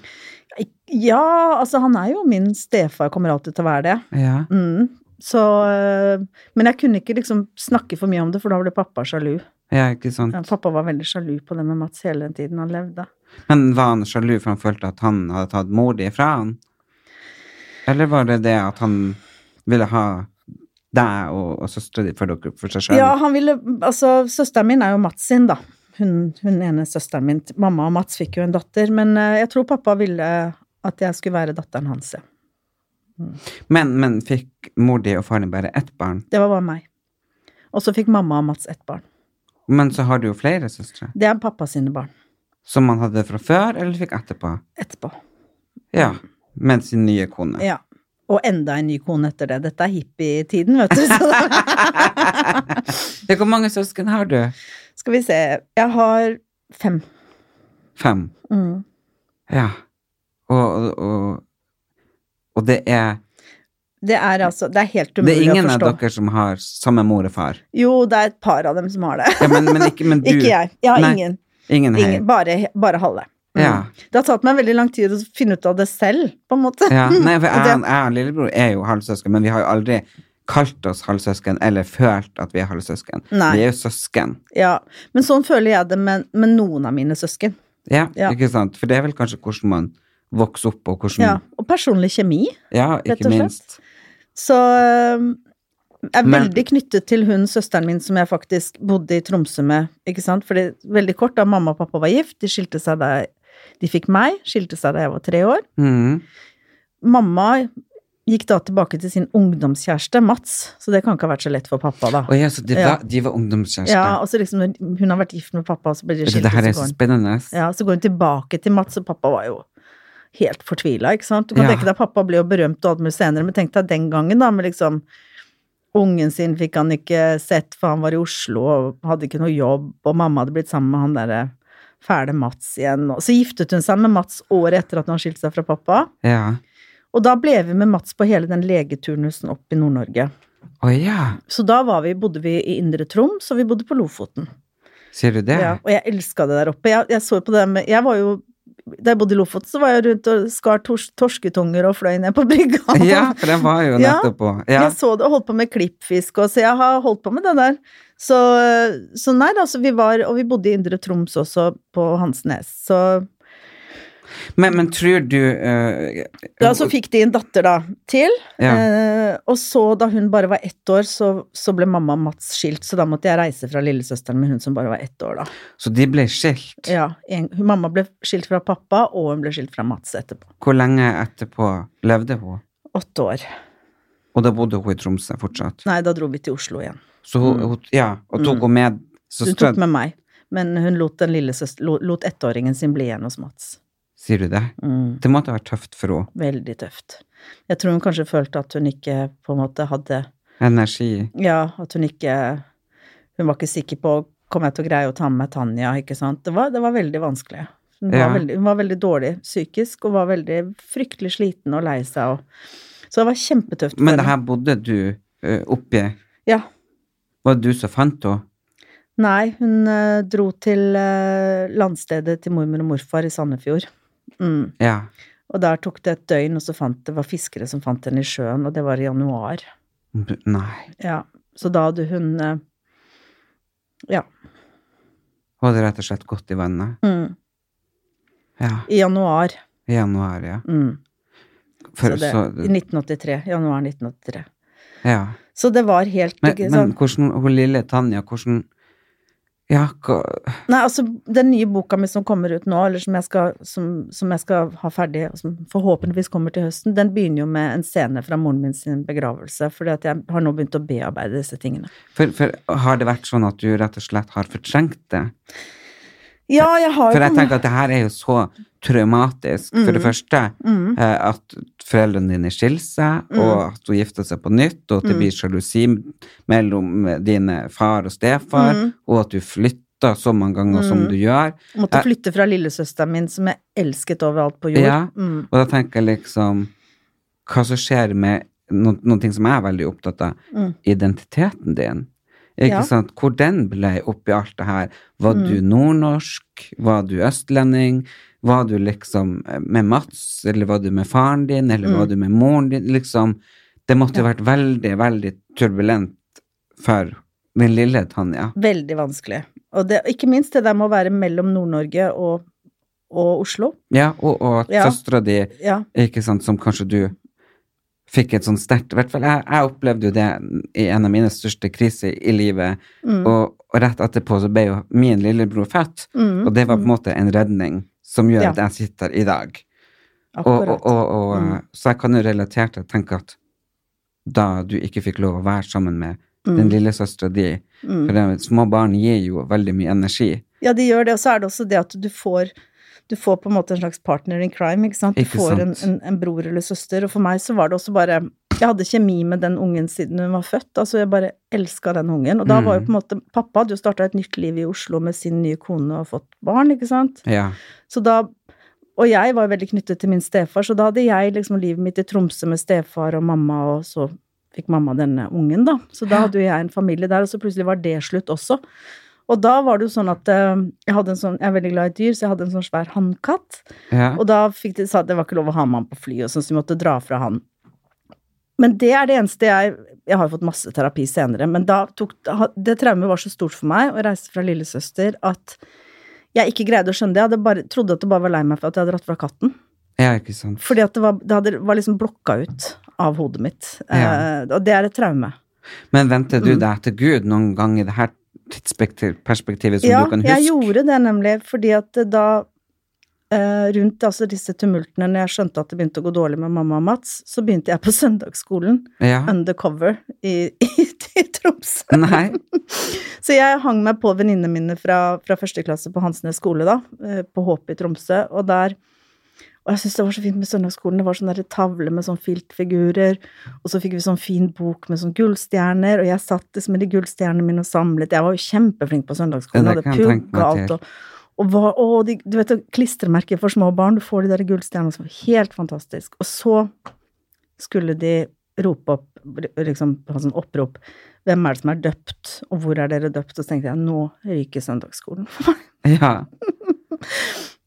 Speaker 2: Ja, altså, han er jo min stefar, kommer alltid til å være det.
Speaker 1: Ja.
Speaker 2: Mm. Så øh, Men jeg kunne ikke liksom snakke for mye om det, for da ble pappa sjalu.
Speaker 1: Ja, ikke sant?
Speaker 2: Ja, pappa var veldig sjalu på det med Mats hele den tiden han levde.
Speaker 1: Men var han sjalu for han følte at han hadde tatt mor di fra han? Eller var det det at han ville ha Deg og, og søstera di for dere for seg sjøl?
Speaker 2: Ja, han ville Altså, søsteren min er jo Mats sin, da. Hun, hun ene søsteren min. Mamma og Mats fikk jo en datter, men eh, jeg tror pappa ville at jeg skulle være datteren hans, ja.
Speaker 1: Men, men fikk mor di og faren din bare ett barn?
Speaker 2: Det var bare meg. Og så fikk mamma og Mats ett barn.
Speaker 1: Men så har du jo flere søstre.
Speaker 2: Det er pappa sine barn.
Speaker 1: Som man hadde fra før, eller fikk etterpå?
Speaker 2: Etterpå.
Speaker 1: Ja. Med sin nye kone.
Speaker 2: Ja. Og enda en ny kone etter det. Dette er hippietiden, vet du. Så da
Speaker 1: Ja, Hvor mange søsken har du?
Speaker 2: skal vi se. Jeg har fem.
Speaker 1: Fem.
Speaker 2: Mm.
Speaker 1: Ja. Og, og, og, og det er
Speaker 2: Det er altså Det er helt
Speaker 1: Det er
Speaker 2: umulig å
Speaker 1: ingen av
Speaker 2: forstå.
Speaker 1: dere som har samme mor og far.
Speaker 2: Jo, det er et par av dem som har det.
Speaker 1: Ja, men, men ikke, men du.
Speaker 2: Ikke jeg. Jeg har
Speaker 1: Nei.
Speaker 2: ingen.
Speaker 1: Ingen her.
Speaker 2: ingen bare, bare halve. Mm.
Speaker 1: Ja.
Speaker 2: Det har tatt meg veldig lang tid å finne ut av det selv, på en måte.
Speaker 1: ja. Nei, for jeg,
Speaker 2: Det-
Speaker 1: jeg og lillebror er jo halvsøsken, men vi har jo aldri kalt oss halvsøsken eller følt at vi er halvsøsken.
Speaker 2: Nei.
Speaker 1: Vi er jo søsken.
Speaker 2: Ja. Men sånn føler jeg det med, med noen av mine søsken.
Speaker 1: Ja,
Speaker 2: Ja.
Speaker 1: ikke sant? For det er vel kanskje hvordan man vokser opp, og hvordan
Speaker 2: Ja. Og personlig kjemi.
Speaker 1: Ja,
Speaker 2: Rett
Speaker 1: ikke
Speaker 2: og slett.
Speaker 1: minst.
Speaker 2: Så øhm, jeg er
Speaker 1: Men-
Speaker 2: veldig knyttet til hun søsteren min som jeg faktisk bodde i Tromsø med, ikke sant? Fordi veldig kort da mamma og pappa var gift, de skilte seg da De fikk meg, skilte seg da jeg var tre år.
Speaker 1: Mhm.
Speaker 2: Mamma gikk da tilbake til sin ungdomskjæreste, Mats, så det kan ikke ha vært så lett for pappa, da.
Speaker 1: Å ja, så de
Speaker 2: Ja.
Speaker 1: var, de var ungdomskjærester.
Speaker 2: Ja, og så liksom når hun har vært gift med pappa, og så blir de
Speaker 1: Vet du,
Speaker 2: skilt,
Speaker 1: det her
Speaker 2: og
Speaker 1: er
Speaker 2: så går
Speaker 1: så
Speaker 2: hun.
Speaker 1: spennende.
Speaker 2: Ja, så går hun tilbake til Mats, og pappa var jo helt fortvila, ikke sant. Du kan
Speaker 1: Ja.
Speaker 2: tenke deg, pappa ble jo berømt og alt mulig senere, men tenk deg den gangen, da, med liksom Ungen sin fikk han ikke sett, for han var i Oslo og hadde ikke noe jobb, og mamma hadde blitt sammen med han derre fæle Mats igjen, og så giftet hun seg med Mats året etter at han skilte seg fra pappa,
Speaker 1: Ja.
Speaker 2: og da ble vi med Mats på hele den legeturnusen opp i Nord-Norge.
Speaker 1: Å ja,
Speaker 2: Så da var vi, bodde vi i Indre Troms, og vi bodde på Lofoten.
Speaker 1: sier du det?
Speaker 2: Ja, og jeg elska det der oppe. Jeg, jeg så på det med Jeg var jo Da jeg bodde i Lofoten, så var jeg rundt og skar tors, torsketunger og fløy ned på brygga.
Speaker 1: Ja, for den var jo
Speaker 2: Ja.
Speaker 1: nettopp på. Ja.
Speaker 2: Jeg så det og holdt på med klippfisk og Så jeg har holdt på med det der. Så, så nei da, så vi var Og vi bodde i Indre Troms også, på Hansnes. Så
Speaker 1: Men, men tror du eh,
Speaker 2: Ja, så fikk de en datter, da, til.
Speaker 1: Ja.
Speaker 2: Eh, og så, da hun bare var ett år, så, så ble mamma og Mats skilt, så da måtte jeg reise fra lillesøsteren min, hun som bare var ett år, da.
Speaker 1: Så de ble skilt.
Speaker 2: Ja, en, hun, mamma ble skilt fra pappa, og hun ble skilt fra Mats etterpå.
Speaker 1: Hvor lenge etterpå levde hun?
Speaker 2: Åtte år.
Speaker 1: Og da bodde hun i Tromsø fortsatt.
Speaker 2: Nei, da dro vi til Oslo igjen.
Speaker 1: Så hun, hun ja, og tok hun med
Speaker 2: Hun
Speaker 1: søstera
Speaker 2: Mm. tok med meg, men hun lot, den lille søster, lo- lot ettåringen sin bli igjen hos Mats.
Speaker 1: Sier du det?
Speaker 2: Mm,
Speaker 1: Det måtte ha vært tøft for henne.
Speaker 2: veldig tøft. Jeg tror hun kanskje følte at hun ikke på en måte hadde
Speaker 1: Energi.
Speaker 2: Ja, at hun ikke Hun var ikke sikker på Kommer jeg til å greie å ta med meg Tanja, ikke sant? Det var, det var veldig vanskelig. Hun,
Speaker 1: Ja.
Speaker 2: var veldig, hun var veldig dårlig psykisk og var veldig fryktelig sliten og lei seg og Så det var kjempetøft. for
Speaker 1: Men det
Speaker 2: henne.
Speaker 1: her bodde du eh, oppi.
Speaker 2: Ja.
Speaker 1: Var det du som fant henne?
Speaker 2: Nei, hun eh, dro til eh, landstedet til mormor og morfar i Sandefjord. Mm.
Speaker 1: Ja.
Speaker 2: Og der tok det et døgn, og så fant det var fiskere som fant henne i sjøen, og det var i januar.
Speaker 1: B- Nei.
Speaker 2: Ja, Så da hadde hun eh, Ja.
Speaker 1: Hun hadde rett og slett gått i vannet.
Speaker 2: Mm,
Speaker 1: Ja.
Speaker 2: I januar.
Speaker 1: I januar, ja.
Speaker 2: Mm,
Speaker 1: For,
Speaker 2: så det,
Speaker 1: så,
Speaker 2: I 1983. Januar 1983.
Speaker 1: ja.
Speaker 2: Så det var helt
Speaker 1: Men,
Speaker 2: ikke sånn-
Speaker 1: men
Speaker 2: sant?
Speaker 1: hvordan Hun lille Tanja, hvordan Ja, hva
Speaker 2: Nei, altså, den nye boka mi som kommer ut nå, eller som jeg skal, som, som jeg skal ha ferdig, og som forhåpentligvis kommer til høsten, den begynner jo med en scene fra moren min sin begravelse, fordi at jeg har nå begynt å bearbeide disse tingene.
Speaker 1: for, for har det vært sånn at du rett og slett har fortrengt det?
Speaker 2: Ja, jeg har
Speaker 1: For
Speaker 2: jo
Speaker 1: jeg tenker at det her er jo så traumatisk, for det første, eh, at foreldrene dine skiller seg, og at hun gifter seg på nytt, og at det blir sjalusi mellom eh, dine far og stefar, og at du flytter så mange ganger som du gjør.
Speaker 2: måtte flytte fra lillesøsteren min, som jeg elsket overalt på jord.
Speaker 1: Ja,
Speaker 2: Mm.
Speaker 1: og da tenker jeg liksom Hva som skjer med no, noen ting som jeg er veldig opptatt av,
Speaker 2: mm.
Speaker 1: identiteten din. Ikke
Speaker 2: Ja. Mm.
Speaker 1: sant? Hvor den ble oppi alt det her. Var du nordnorsk? Var du østlending? Var du liksom eh, med Mats, eller var du med faren din, eller
Speaker 2: Mm.
Speaker 1: var du med moren din? Liksom, det måtte jo vært veldig, veldig turbulent for den lille Tanja.
Speaker 2: Veldig vanskelig. Og det, ikke minst det der med å være mellom Nord-Norge og, og Oslo.
Speaker 1: Ja, og, og
Speaker 2: Ja.
Speaker 1: søstera di
Speaker 2: Ja.
Speaker 1: Ikke sant, som kanskje du fikk et sånn sterkt I hvert fall, jeg, jeg opplevde jo det i en av mine største kriser i livet. Og, og rett etterpå så ble jo min lillebror født,
Speaker 2: Mm,
Speaker 1: og det var på en måte en redning som gjør
Speaker 2: Ja.
Speaker 1: at jeg sitter i dag. Og,
Speaker 2: Akkurat. Mm.
Speaker 1: og, og, og, eh, Så jeg kan jo relatert til å tenke at da du ikke fikk lov å være sammen med den lillesøstera di
Speaker 2: Mm.
Speaker 1: For det, små barn gir jo veldig mye energi.
Speaker 2: Ja, de gjør det, og så er det også det at du får du får på en måte en slags partner in crime, ikke sant? Du
Speaker 1: Ikke
Speaker 2: får
Speaker 1: sant.
Speaker 2: En, en, en bror eller søster, og for meg så var det også bare Jeg hadde kjemi med den ungen siden hun var født, altså jeg bare elska den ungen. Og da
Speaker 1: Mm.
Speaker 2: var jo på en måte Pappa hadde jo starta et nytt liv i Oslo med sin nye kone og fått barn, ikke sant?
Speaker 1: Ja.
Speaker 2: Så da Og jeg var veldig knyttet til min stefar, så da hadde jeg liksom livet mitt i Tromsø med stefar og mamma, og så fikk mamma denne ungen, da. Så da hadde jo jeg en familie der, og så plutselig var det slutt også. Og da var det jo sånn at eh, jeg, hadde en sånn, jeg er veldig glad i dyr, så jeg hadde en sånn svær hannkatt.
Speaker 1: ja.
Speaker 2: Og da fikk de, sa de det var ikke lov å ha med han på fly, og sånn, så vi måtte dra fra han. Men det er det eneste jeg Jeg har jo fått masse terapi senere, men da tok Det traumet var så stort for meg å reise fra lillesøster at jeg ikke greide å skjønne det. Jeg hadde bare, trodde at det bare var lei meg for at jeg hadde dratt fra katten.
Speaker 1: ja, ikke sant.
Speaker 2: Fordi at det var, det hadde, var liksom blokka ut av hodet mitt.
Speaker 1: Ja.
Speaker 2: Eh, og det er et traume.
Speaker 1: Men venter
Speaker 2: Mm.
Speaker 1: du deg etter Gud noen gang i det her tidsperspektivet som
Speaker 2: ja,
Speaker 1: du kan huske?
Speaker 2: jeg gjorde det nemlig, fordi at da eh, rundt altså disse tumultene, når jeg skjønte at det begynte å gå dårlig med mamma og Mats, så begynte jeg på søndagsskolen,
Speaker 1: Ja.
Speaker 2: undercover, i, i, i Tromsø.
Speaker 1: Nei.
Speaker 2: Så jeg hang meg på venninnene mine fra, fra første klasse på Hansnes skole, da, eh, på Håp i Tromsø, og der og jeg syntes det var så fint med søndagsskolen. Det var sånn der tavle med sånn filtfigurer, og så fikk vi sånn fin bok med sånn gullstjerner, og jeg satt liksom med de gullstjernene mine og samlet. Jeg var jo kjempeflink på søndagsskolen,
Speaker 1: Ja, det
Speaker 2: hadde
Speaker 1: kan jeg tenke meg
Speaker 2: pugga alt
Speaker 1: til.
Speaker 2: og og hva, å, de, du vet, klistremerker for små barn, du får de der gullstjernene som var helt fantastisk. Og så skulle de rope opp, liksom ha sånn opprop, hvem er det som er døpt, og hvor er dere døpt? Og så tenkte jeg, nå ryker søndagsskolen.
Speaker 1: Ja.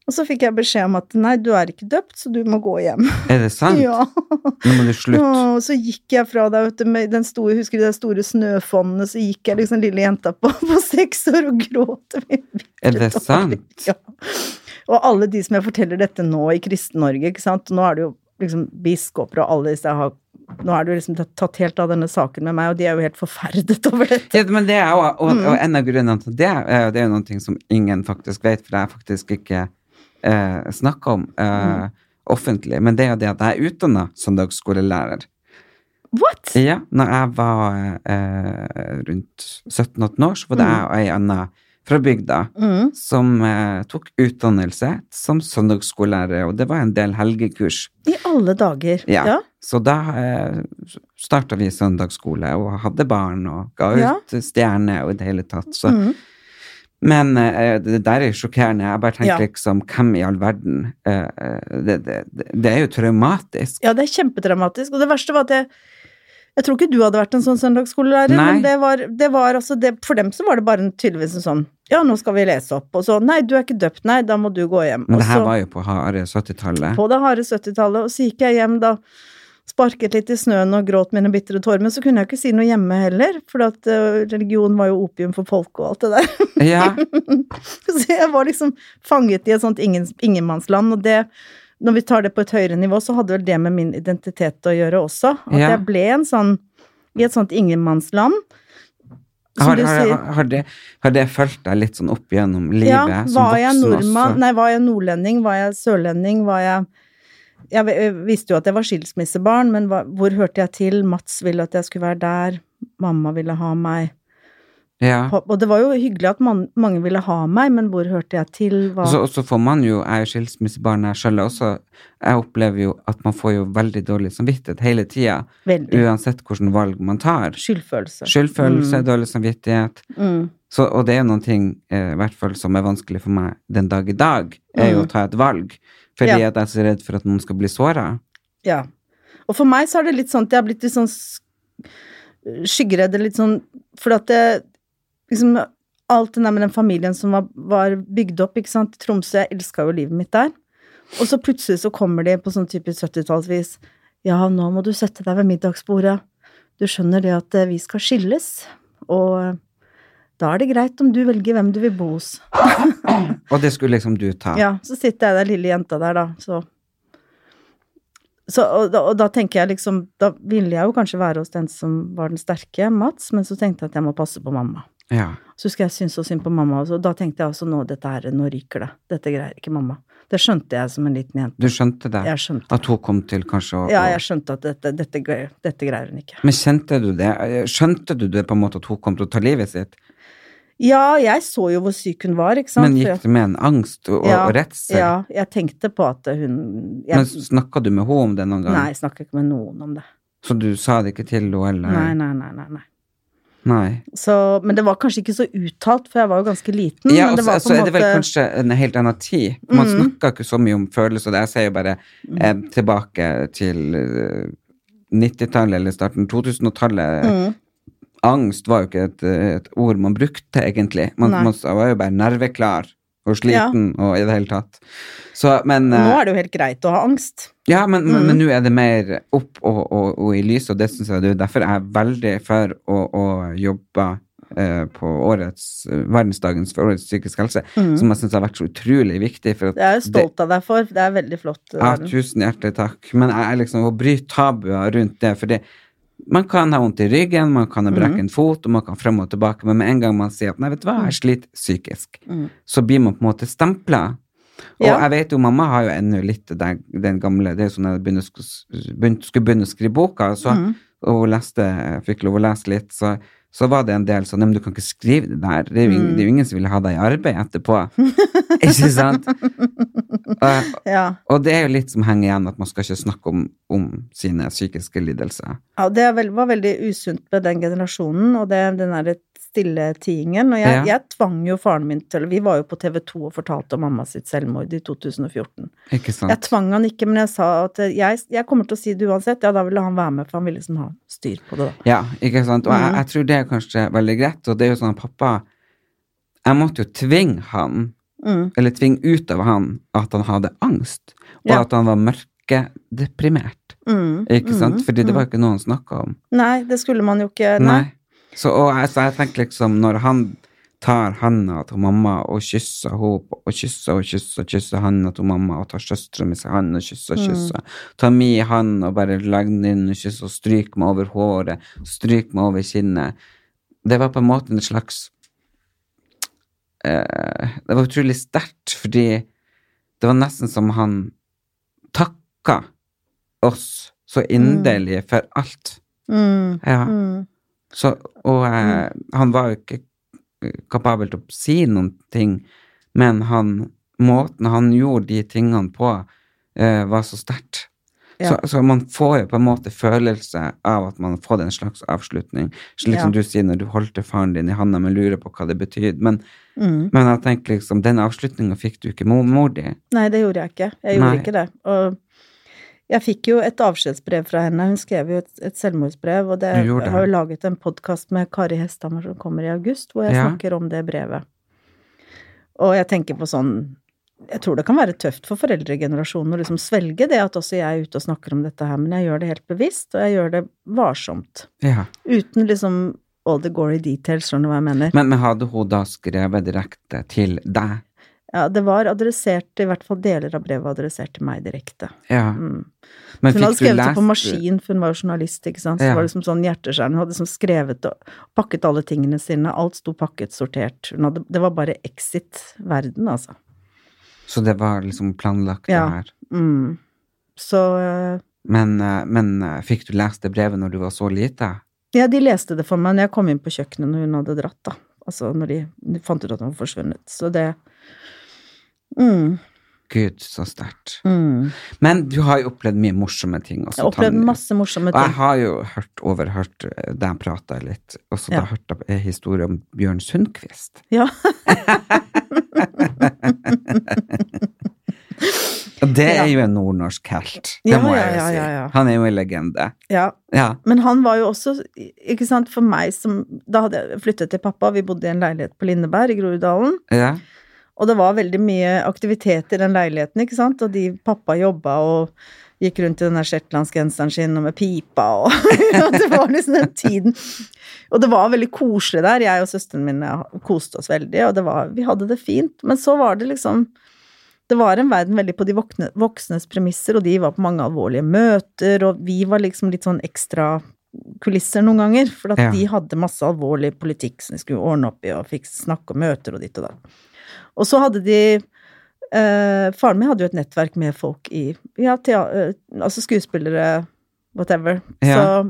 Speaker 2: og så fikk jeg beskjed om at nei, du er ikke døpt, så du må gå hjem.
Speaker 1: Er det sant?
Speaker 2: Ja.
Speaker 1: Nå må du slutte.
Speaker 2: Og så gikk jeg fra deg, vet du, med den store, husker du det store snøfondet, så gikk jeg liksom lille jenta på, på seks år og gråt.
Speaker 1: Er det sant?
Speaker 2: Ja. Og alle de som jeg forteller dette nå i Kristen-Norge, ikke sant. Nå er det jo liksom biskoper og alle disse jeg har Nå er det jo liksom tatt helt av denne saken med meg, og de er jo helt forferdet over dette.
Speaker 1: Ja, men det er jo, og, og en av grunnene til det, eh, det er jo noe som ingen faktisk vet, for jeg faktisk ikke eh, snakker om eh, offentlig, men det er jo det at jeg er utdanna søndagsskolelærer.
Speaker 2: What?!
Speaker 1: Ja, når jeg var eh, rundt 17-18 år, så var det jeg og ei anna fra bygda
Speaker 2: Mm.
Speaker 1: som eh, tok utdannelse som søndagsskolelærer, og det var en del helgekurs.
Speaker 2: I alle dager.
Speaker 1: Ja. Så da eh, starta vi søndagsskole og hadde barn og ga ut
Speaker 2: Ja.
Speaker 1: stjerner og i det hele tatt. Så.
Speaker 2: Mhm.
Speaker 1: Men eh, det der er sjokkerende. Jeg bare tenker
Speaker 2: Ja.
Speaker 1: liksom Hvem i all verden? Eh, eh, det, det, det er jo traumatisk.
Speaker 2: Ja, det er kjempedramatisk. Og det verste var at jeg Jeg tror ikke du hadde vært en sånn søndagsskolelærer,
Speaker 1: Nei.
Speaker 2: men det var, det var altså det, For dem så var det bare en, tydeligvis en sånn Ja, nå skal vi lese opp, og så Nei, du er ikke døpt, nei, da må du gå hjem.
Speaker 1: Men
Speaker 2: Og
Speaker 1: det her
Speaker 2: så-
Speaker 1: var jo på harde 70-tallet.
Speaker 2: på det harde 70-tallet, og så gikk jeg hjem da. Sparket litt i snøen og gråt mine bitre tårer, men så kunne jeg ikke si noe hjemme heller, for at eh, religion var jo opium for folket og alt det der.
Speaker 1: Ja,
Speaker 2: Så jeg var liksom fanget i et sånt ingen, ingenmannsland, og det Når vi tar det på et høyere nivå, så hadde vel det med min identitet å gjøre også. At
Speaker 1: Ja.
Speaker 2: jeg ble en sånn I et sånt ingenmannsland. Som
Speaker 1: har,
Speaker 2: du
Speaker 1: har,
Speaker 2: sier.
Speaker 1: har, har, det, har det fulgt deg litt sånn opp gjennom livet?
Speaker 2: Ja,
Speaker 1: som
Speaker 2: var jeg
Speaker 1: voksen
Speaker 2: nordmann?
Speaker 1: også?
Speaker 2: Nei, var jeg nordlending? Var jeg sørlending? Var jeg Jeg v- ø, visste jo at jeg var skilsmissebarn, men hva, hvor hørte jeg til? Mats ville at jeg skulle være der. Mamma ville ha meg.
Speaker 1: Ja.
Speaker 2: Pa- Og det var jo hyggelig at man, mange ville ha meg, men hvor hørte jeg til? Hva?
Speaker 1: Og så, og så får man jo, jeg er jo skilsmissebarn jeg sjøl også, jeg opplever jo at man får jo veldig dårlig samvittighet hele tida,
Speaker 2: Veldig.
Speaker 1: uansett hvilke valg man tar.
Speaker 2: Skyldfølelse.
Speaker 1: Skyldfølelse, dårlig samvittighet.
Speaker 2: Mm.
Speaker 1: Så, og det er jo noen ting eh, i hvert fall som er vanskelig for meg den dag i dag, er jo å ta et valg. Fordi
Speaker 2: Mm. Ja.
Speaker 1: at jeg er så redd for at noen skal bli såra.
Speaker 2: Ja. Og for meg så er det litt sånn at jeg har blitt litt sånn s- skyggeredd, eller litt sånn For at det liksom Alt det der med den familien som var, var bygd opp, ikke sant. Tromsø, jeg elska jo livet mitt der. Og så plutselig så kommer de på sånn typisk 70-tallsvis. Ja, nå må du sette deg ved middagsbordet. Du skjønner det at eh, vi skal skilles, og eh, da er det greit om du velger hvem du vil bo hos.
Speaker 1: Og det skulle liksom du ta.
Speaker 2: Ja, så sitter jeg der lille jenta der, da, så Så, og, da- og da tenker jeg liksom Da ville jeg jo kanskje være hos den som var den sterke, Mats, men så tenkte jeg at jeg må passe på mamma.
Speaker 1: Ja.
Speaker 2: Så husker jeg jeg syntes så synd på mamma også, og da tenkte jeg også nå, dette her, nå ryker det. Dette greier ikke mamma. Det skjønte jeg som en liten jente.
Speaker 1: Du skjønte det?
Speaker 2: Jeg skjønte
Speaker 1: At hun kom til kanskje å
Speaker 2: Ja,
Speaker 1: å-
Speaker 2: jeg skjønte at dette, dette, greier- dette greier hun ikke.
Speaker 1: Men kjente du det? Skjønte du det på en måte at hun kom til å ta livet sitt?
Speaker 2: Ja, jeg så jo hvor syk hun var, ikke sant.
Speaker 1: Men
Speaker 2: For
Speaker 1: gikk
Speaker 2: jeg-
Speaker 1: det med en angst og,
Speaker 2: Ja,
Speaker 1: og redsel?
Speaker 2: Ja, jeg tenkte på at hun jeg,
Speaker 1: Men snakka du med henne om det noen gang?
Speaker 2: Nei, jeg snakker ikke med noen om det.
Speaker 1: Så du sa det ikke til henne, eller?
Speaker 2: Nei, nei, nei, nei. nei.
Speaker 1: Nei.
Speaker 2: Så, men det var kanskje ikke så uttalt, for jeg var jo ganske liten.
Speaker 1: Ja,
Speaker 2: Mm, men
Speaker 1: og
Speaker 2: det
Speaker 1: så
Speaker 2: var på
Speaker 1: så
Speaker 2: en
Speaker 1: er det vel
Speaker 2: måte- Mm.
Speaker 1: kanskje en helt annen tid. Man snakker ikke så mye om følelser. og det- Jeg sier jo bare eh, tilbake til eh, 90-tallet eller starten 2000-tallet.
Speaker 2: Mm.
Speaker 1: Angst var jo ikke et, eh, et ord man brukte, egentlig. Man,
Speaker 2: Nei.
Speaker 1: man sa- var jo bare nerveklar og sliten og i det hele tatt. Så, men eh,
Speaker 2: Nå er det jo helt greit å ha angst.
Speaker 1: Ja, men, men,
Speaker 2: Mm.
Speaker 1: men nå er det mer opp og, og, og i lys, og det syns jeg det er derfor jeg er veldig for å, å jobbe eh, på årets, eh, verdensdagens for årets psykisk helse, som jeg syns har vært så utrolig viktig. For at
Speaker 2: Mm. Jeg er jo stolt av deg for, det er veldig flott. eh,
Speaker 1: Det, ja,
Speaker 2: Verden.
Speaker 1: tusen hjertelig takk. Men jeg er liksom å bryte tabuer rundt det, fordi man kan ha vondt i ryggen, man kan ha
Speaker 2: Mhm.
Speaker 1: brekket en fot, og man kan frem og tilbake, men med en gang man sier at nei, vet du hva, jeg sliter psykisk, så blir man på en måte stempla. Og
Speaker 2: Mhm. Ja.
Speaker 1: jeg vet jo, mamma har jo ennå litt den, den gamle Det er jo sånn at jeg begynner å sk- begynt- skulle begynne å skrive boka, så,
Speaker 2: Mhm.
Speaker 1: og hun leste, jeg fikk lov å lese litt, så, så var det en del sånn Nei, men du kan ikke skrive det der. Det er jo, ing-
Speaker 2: Mhm.
Speaker 1: det er jo ingen som vil ha deg i arbeid etterpå. ikke sant? Og,
Speaker 2: Ja.
Speaker 1: og det er jo litt som henger igjen, at man skal ikke snakke om, om sine psykiske lidelser.
Speaker 2: Ja, det er vel- var veldig usunt med den generasjonen, og det, den der stille tiingen. Og jeg,
Speaker 1: Ja.
Speaker 2: jeg tvang jo faren min til Vi var jo på TV 2 og fortalte om mamma sitt selvmord i 2014.
Speaker 1: Ikke
Speaker 2: Jeg
Speaker 1: sant?
Speaker 2: tvang han ikke, men jeg sa at jeg, jeg kommer til å si det uansett. Ja, da ville han være med, for han ville liksom ha styr på det, da.
Speaker 1: Ja, ikke sant? Og jeg,
Speaker 2: Mm.
Speaker 1: jeg tror det er kanskje veldig greit, og det er jo sånn at pappa Jeg måtte jo tvinge han,
Speaker 2: Mm.
Speaker 1: eller tvinge ut av han, at han hadde angst, og
Speaker 2: Ja.
Speaker 1: at han var mørkedeprimert.
Speaker 2: Mm.
Speaker 1: Ikke sant? Fordi det var jo ikke noe han snakka om.
Speaker 2: Nei, det skulle man jo ikke. Eh, Nei.
Speaker 1: Nei. Så, og jeg, så jeg tenker liksom, når han tar handa til mamma og kysser henne, og kysser og kysser og kysser handa til mamma, og tar søstera mi sin hand og kysser og
Speaker 2: Mm.
Speaker 1: kysser, tar mi hand og bare legger den inn og kysser, og stryker meg over håret, stryker meg over kinnet Det var på en måte en slags eh, Det var utrolig sterkt, fordi det var nesten som han takka oss så inderlig for alt.
Speaker 2: Mm.
Speaker 1: Ja.
Speaker 2: Mm.
Speaker 1: Så, og eh, han var jo ikke kapabel til å si noen ting, men han, måten han gjorde de tingene på, eh, var så sterkt.
Speaker 2: Ja.
Speaker 1: Så, så man får jo på en måte følelse av at man har fått en slags avslutning. Slik som
Speaker 2: Ja.
Speaker 1: du sier når du holdt faren din i handa, men lurer på hva det betydde. Men,
Speaker 2: Mm.
Speaker 1: men jeg tenker liksom, den avslutninga fikk du ikke mor, mor di.
Speaker 2: Nei, det gjorde jeg ikke. Jeg gjorde
Speaker 1: Nei.
Speaker 2: ikke det. Og jeg fikk jo et avskjedsbrev fra henne. Hun skrev jo et, et selvmordsbrev, og det,
Speaker 1: Du gjorde
Speaker 2: jeg har
Speaker 1: det.
Speaker 2: jo laget en podkast med Kari Hesthammer som kommer i august, hvor jeg
Speaker 1: Ja.
Speaker 2: snakker om det brevet. Og jeg tenker på sånn Jeg tror det kan være tøft for foreldregenerasjonen å liksom svelge det at også jeg er ute og snakker om dette her, men jeg gjør det helt bevisst, og jeg gjør det varsomt.
Speaker 1: Ja.
Speaker 2: Uten liksom all the gory details, skjønner du hva jeg mener?
Speaker 1: Men, men hadde hun da skrevet direkte til deg?
Speaker 2: Ja, det var adressert, i hvert fall deler av brevet var adressert til meg direkte.
Speaker 1: Ja.
Speaker 2: Mm.
Speaker 1: Men
Speaker 2: hun hadde
Speaker 1: fikk du
Speaker 2: skrevet det på
Speaker 1: lest-
Speaker 2: maskin, for hun var jo journalist, ikke sant. Så
Speaker 1: Ja.
Speaker 2: det var liksom sånn hjerteskjærende. Hun hadde liksom skrevet og pakket alle tingene sine. Alt sto pakket, sortert. Hun hadde, det var bare exit-verden, altså.
Speaker 1: Så det var liksom planlagt,
Speaker 2: Ja.
Speaker 1: det her?
Speaker 2: Mm. Så eh,
Speaker 1: Men, eh, men eh, fikk du lest det brevet når du var så lite?
Speaker 2: Ja, de leste det for meg når jeg kom inn på kjøkkenet når hun hadde dratt, da. Altså når de de fant ut at hun var forsvunnet. Så det mm,
Speaker 1: Gud, så sterkt.
Speaker 2: mm.
Speaker 1: Men du har jo opplevd mye morsomme ting også.
Speaker 2: Jeg opplevde
Speaker 1: Tanja.
Speaker 2: masse morsomme
Speaker 1: Og jeg
Speaker 2: ting.
Speaker 1: har jo hørt, overhørt eh, deg prate litt, og så
Speaker 2: Ja.
Speaker 1: da hørte jeg en historie om Bjørn Sundquist.
Speaker 2: Ja.
Speaker 1: Og det
Speaker 2: Ja.
Speaker 1: er jo en nordnorsk helt. Det
Speaker 2: Ja,
Speaker 1: må jeg jo
Speaker 2: ja, ja,
Speaker 1: si.
Speaker 2: ja, ja.
Speaker 1: Han er jo en legende.
Speaker 2: ja.
Speaker 1: Ja.
Speaker 2: Men han var jo også, ikke sant, for meg som Da hadde jeg flyttet til pappa, vi bodde i en leilighet på Lindeberg i Groruddalen.
Speaker 1: ja.
Speaker 2: Og det var veldig mye aktivitet i den leiligheten, ikke sant. Og de pappa jobba og gikk rundt i den der shetlandsgenseren sin og med pipa og og Det var liksom den tiden. Og det var veldig koselig der. Jeg og søsteren min koste oss veldig, og det var, vi hadde det fint. Men så var det liksom det var en verden veldig på de voksne, voksnes premisser, og de var på mange alvorlige møter, og vi var liksom litt sånn ekstra kulisser noen ganger, for at
Speaker 1: Ja.
Speaker 2: de hadde masse alvorlig politikk som de skulle ordne opp i, og fikk snakke om møter og ditt og datt. Og så hadde de eh, Faren min hadde jo et nettverk med folk i ja, tea, eh, Altså skuespillere, whatever.
Speaker 1: Ja.
Speaker 2: Så,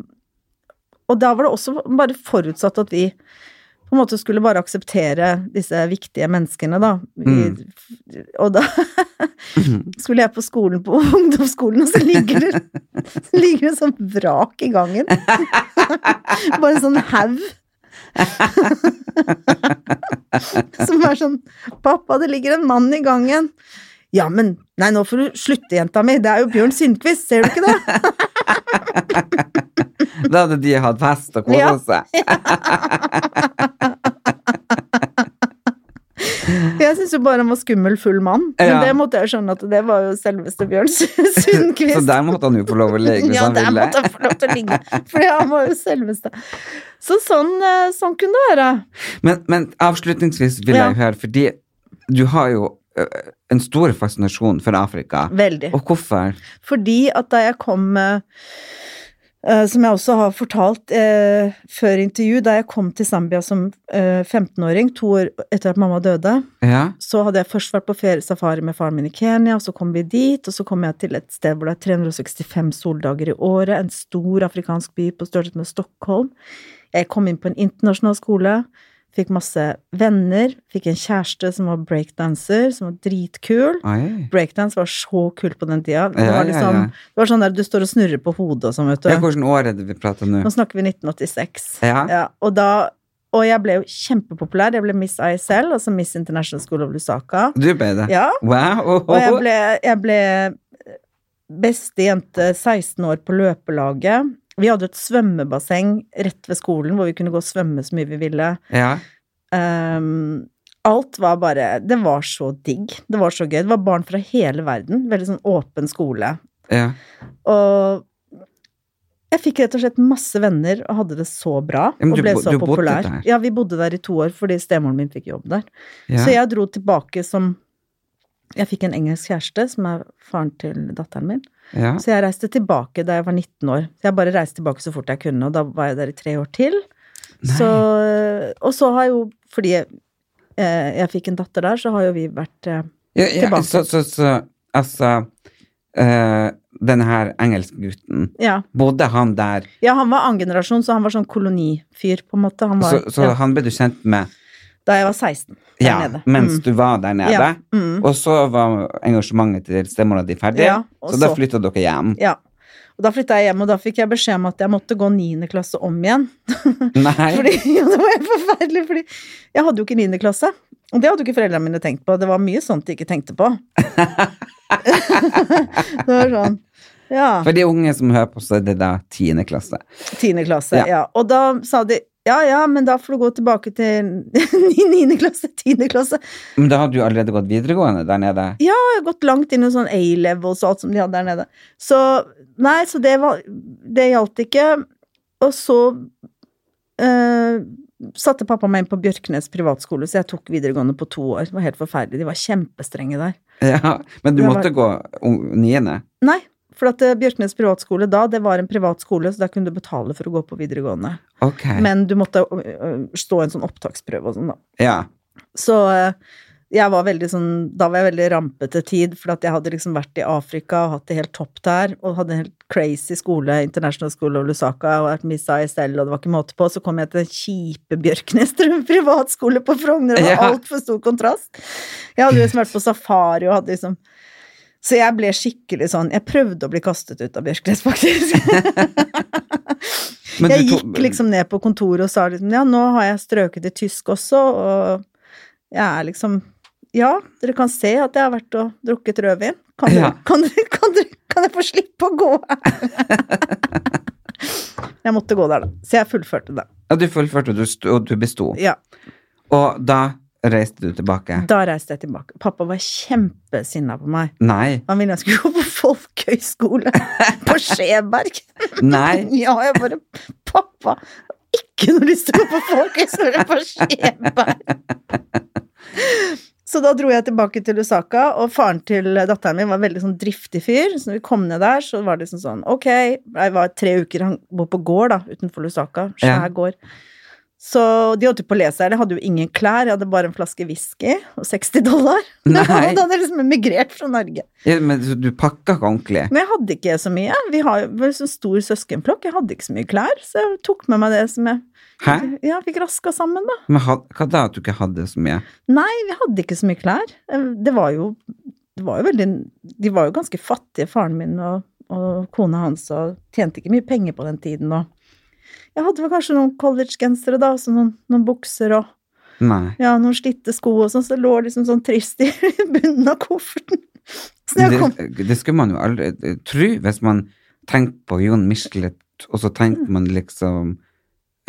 Speaker 2: og da var det også bare forutsatt at vi på en måte skulle bare akseptere disse viktige menneskene, da. I,
Speaker 1: Mm.
Speaker 2: Og da skulle jeg på skolen, på ungdomsskolen, og så ligger det, så ligger det sånn vrak i gangen. Bare en sånn haug. Som er sånn 'Pappa, det ligger en mann i gangen'. Ja, men Nei, nå får du slutte, jenta mi. Det er jo Bjørn Sundquist, ser du ikke det?
Speaker 1: Da hadde de hatt fest og kosa
Speaker 2: Ja.
Speaker 1: seg.
Speaker 2: Jeg syns jo bare han var skummel, full mann. Men
Speaker 1: Ja.
Speaker 2: det måtte jeg jo skjønne at det var jo selveste Bjørn
Speaker 1: Så
Speaker 2: Sundquist.
Speaker 1: der måtte han jo få lov å ligge hvis
Speaker 2: Ja,
Speaker 1: han
Speaker 2: der
Speaker 1: ville.
Speaker 2: måtte han få lov til å ligge, for han var jo selveste. Så sånn, eh, sånn kunne det være.
Speaker 1: Men, men avslutningsvis vil
Speaker 2: Ja.
Speaker 1: jeg høre, fordi du har jo ø, en stor fascinasjon for Afrika.
Speaker 2: Veldig.
Speaker 1: Og hvorfor?
Speaker 2: Fordi at da jeg kom eh, eh, Som jeg også har fortalt eh, før intervju, da jeg kom til Zambia som eh, 15-åring, to år etter at mamma døde,
Speaker 1: Ja,
Speaker 2: så hadde jeg først vært på ferie safari med faren min i Kenya, og så kom vi dit, og så kom jeg til et sted hvor det er 365 soldager i året, en stor afrikansk by på størrelse med Stockholm. Jeg kom inn på en internasjonal skole, fikk masse venner, fikk en kjæreste som var breakdanser, som var dritkul.
Speaker 1: oi.
Speaker 2: Breakdance var så kult på den tida. Det
Speaker 1: Ja, ja,
Speaker 2: var, liksom,
Speaker 1: ja.
Speaker 2: det var sånn der du står og snurrer på hodet og sånn, vet du.
Speaker 1: Ja, hvordan år er det vi prater nå?
Speaker 2: Nå snakker vi 1986.
Speaker 1: Ja.
Speaker 2: og da Og jeg ble jo kjempepopulær. Jeg ble Miss ISL, altså Miss International School of Lusaka.
Speaker 1: Du ble det?
Speaker 2: Ja,
Speaker 1: Wow!
Speaker 2: og jeg ble, jeg ble eh, beste jente 16 år på løpelaget. Vi hadde et svømmebasseng rett ved skolen hvor vi kunne gå og svømme så mye vi ville.
Speaker 1: Ja.
Speaker 2: Ehm, alt var bare Det var så digg. Det var så gøy. Det var barn fra hele verden. Veldig sånn åpen skole.
Speaker 1: ja.
Speaker 2: Og jeg fikk rett og slett masse venner og hadde det så bra.
Speaker 1: Ja, men
Speaker 2: og
Speaker 1: du
Speaker 2: ble
Speaker 1: bo-
Speaker 2: så
Speaker 1: du bodde
Speaker 2: populær.
Speaker 1: der?
Speaker 2: Ja, vi bodde der i to år fordi stemoren min fikk jobb der.
Speaker 1: ja.
Speaker 2: Så jeg dro tilbake som Jeg fikk en engelsk kjæreste, som er faren til datteren min.
Speaker 1: ja.
Speaker 2: Så jeg reiste tilbake da jeg var 19 år. Så jeg bare reiste tilbake så fort jeg kunne, og da var jeg der i tre år til. Så, og så har jo, fordi jeg, eh, jeg fikk en datter der, så har jo vi vært eh,
Speaker 1: ja, ja.
Speaker 2: tilbake.
Speaker 1: Så, så, så altså ø, Denne her engelske gutten,
Speaker 2: Ja.
Speaker 1: bodde han der?
Speaker 2: ja, han var annengenerasjon, så han var sånn kolonifyr, på en måte. Han var,
Speaker 1: Så, så
Speaker 2: ja,
Speaker 1: han ble du kjent med
Speaker 2: da jeg var 16 der
Speaker 1: ja,
Speaker 2: nede.
Speaker 1: mens
Speaker 2: Mm.
Speaker 1: du var der nede?
Speaker 2: Ja, mm.
Speaker 1: Og så var engasjementet til stemora di ferdig,
Speaker 2: Ja, og
Speaker 1: så da
Speaker 2: så-
Speaker 1: flytta dere hjem?
Speaker 2: Ja. Og da flytta jeg hjem, og da fikk jeg beskjed om at jeg måtte gå 9. klasse om igjen.
Speaker 1: Nei.
Speaker 2: Fordi, ja, det var helt forferdelig, fordi jeg hadde jo ikke 9. klasse. Og det hadde jo ikke foreldrene mine tenkt på. Det var mye sånt de ikke tenkte på. det var sånn Ja.
Speaker 1: For de unge som hører på, så er det da tiende klasse.
Speaker 2: 10. klasse.
Speaker 1: Ja.
Speaker 2: Ja. Og da sa de ja, ja, men da får du gå tilbake til 9. klasse, 10. klasse.
Speaker 1: Men da hadde du allerede gått videregående der nede.
Speaker 2: Jeg har gått langt inn i sånn A-levels og alt som de hadde der nede. Så nei, så det var Det gjaldt ikke. Og så eh, satte pappa meg inn på Bjørknes privatskole, så jeg tok videregående på to år. Det var helt forferdelig. De var kjempestrenge der.
Speaker 1: Ja, men du
Speaker 2: Det var-
Speaker 1: måtte gå ung- niende.
Speaker 2: Nei, for at eh, Bjørknes privatskole da, det var en privatskole, så da kunne du betale for å gå på videregående.
Speaker 1: Ok.
Speaker 2: Men du måtte ø, ø, stå en sånn opptaksprøve og sånn, da.
Speaker 1: Ja.
Speaker 2: Så eh, jeg var veldig sånn Da var jeg veldig rampete tid, for at jeg hadde liksom vært i Afrika og hatt det helt topp der, og hadde en helt crazy skole, International School of Lusaka, og vært Miss ISL, og det var ikke måte på. Så kom jeg til den kjipe Bjørknes privatskole på Frogner, det var
Speaker 1: Ja.
Speaker 2: altfor stor kontrast. Jeg hadde liksom vært på safari og hadde liksom så jeg ble skikkelig sånn Jeg prøvde å bli kastet ut av Bjørknes, faktisk.
Speaker 1: Men
Speaker 2: jeg
Speaker 1: du to-
Speaker 2: gikk liksom ned på kontoret og sa liksom Ja, nå har jeg strøket i tysk også, og jeg er liksom Ja, dere kan se at jeg har vært og drukket rødvin. Kan dere,
Speaker 1: Ja.
Speaker 2: kan dere, kan dere Kan jeg få slippe å gå? jeg måtte gå der, da. Så jeg fullførte det.
Speaker 1: Ja, du fullførte, og du st- og du besto.
Speaker 2: Ja.
Speaker 1: Og da reiste du tilbake.
Speaker 2: Da reiste jeg tilbake. Pappa var kjempesinna på meg.
Speaker 1: Nei.
Speaker 2: Han ville jeg skulle gå på folkehøyskole på Skjeberg.
Speaker 1: Nei.
Speaker 2: Ja, jeg bare Pappa! Ikke noe lyst til å gå på folkehøyskole på Skjeberg! Så da dro jeg tilbake til Lusaka, og faren til datteren min var veldig sånn driftig fyr. Så når vi kom ned der, så var det liksom sånn Ok, jeg var tre uker Han bor på gård, da, utenfor Lusaka. Svær
Speaker 1: Ja.
Speaker 2: gård. Så de holdt jo på å lese her. Jeg hadde jo ingen klær. Jeg hadde bare en flaske whisky og 60 dollar.
Speaker 1: Nei.
Speaker 2: da hadde jeg liksom emigrert fra Norge.
Speaker 1: Ja, men du- du pakka ikke ordentlig.
Speaker 2: Men jeg hadde ikke så mye. Vi har jo en sånn stor søskenflokk. Jeg hadde ikke så mye klær, så jeg tok med meg det som jeg
Speaker 1: Hæ?
Speaker 2: ja, fikk raska sammen, da.
Speaker 1: Men had, hva da at du ikke hadde så mye?
Speaker 2: Nei, vi hadde ikke så mye klær. Eh, Det var jo, det var jo veldig De var jo ganske fattige, faren min og, og kona hans, og tjente ikke mye penger på den tiden. Og jeg hadde vel kanskje noen collegegensere, da, og så noen, noen bukser og
Speaker 1: Nei.
Speaker 2: ja, noen slitte sko og sånn, så det lå liksom sånn trist i bunnen av kofferten. Så når jeg kom
Speaker 1: Det, det skulle man jo aldri eh, tro hvis man tenkte på Jon Michelet, og så tenkte man liksom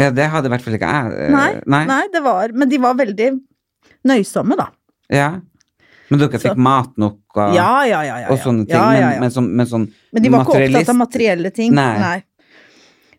Speaker 1: Ja, det hadde i hvert fall ikke jeg. eh,
Speaker 2: Nei, nei. det var Men de var veldig nøysomme, da.
Speaker 1: Ja. Men dere fikk
Speaker 2: Så-
Speaker 1: mat nok
Speaker 2: Ja,
Speaker 1: og,
Speaker 2: ja, ja. ja, ja.
Speaker 1: og sånne ting.
Speaker 2: Ja, ja, ja.
Speaker 1: Men, men, sånn, men sånn
Speaker 2: Men de var ikke opptatt av
Speaker 1: materialist-
Speaker 2: materielle ting.
Speaker 1: Nei.
Speaker 2: Nei.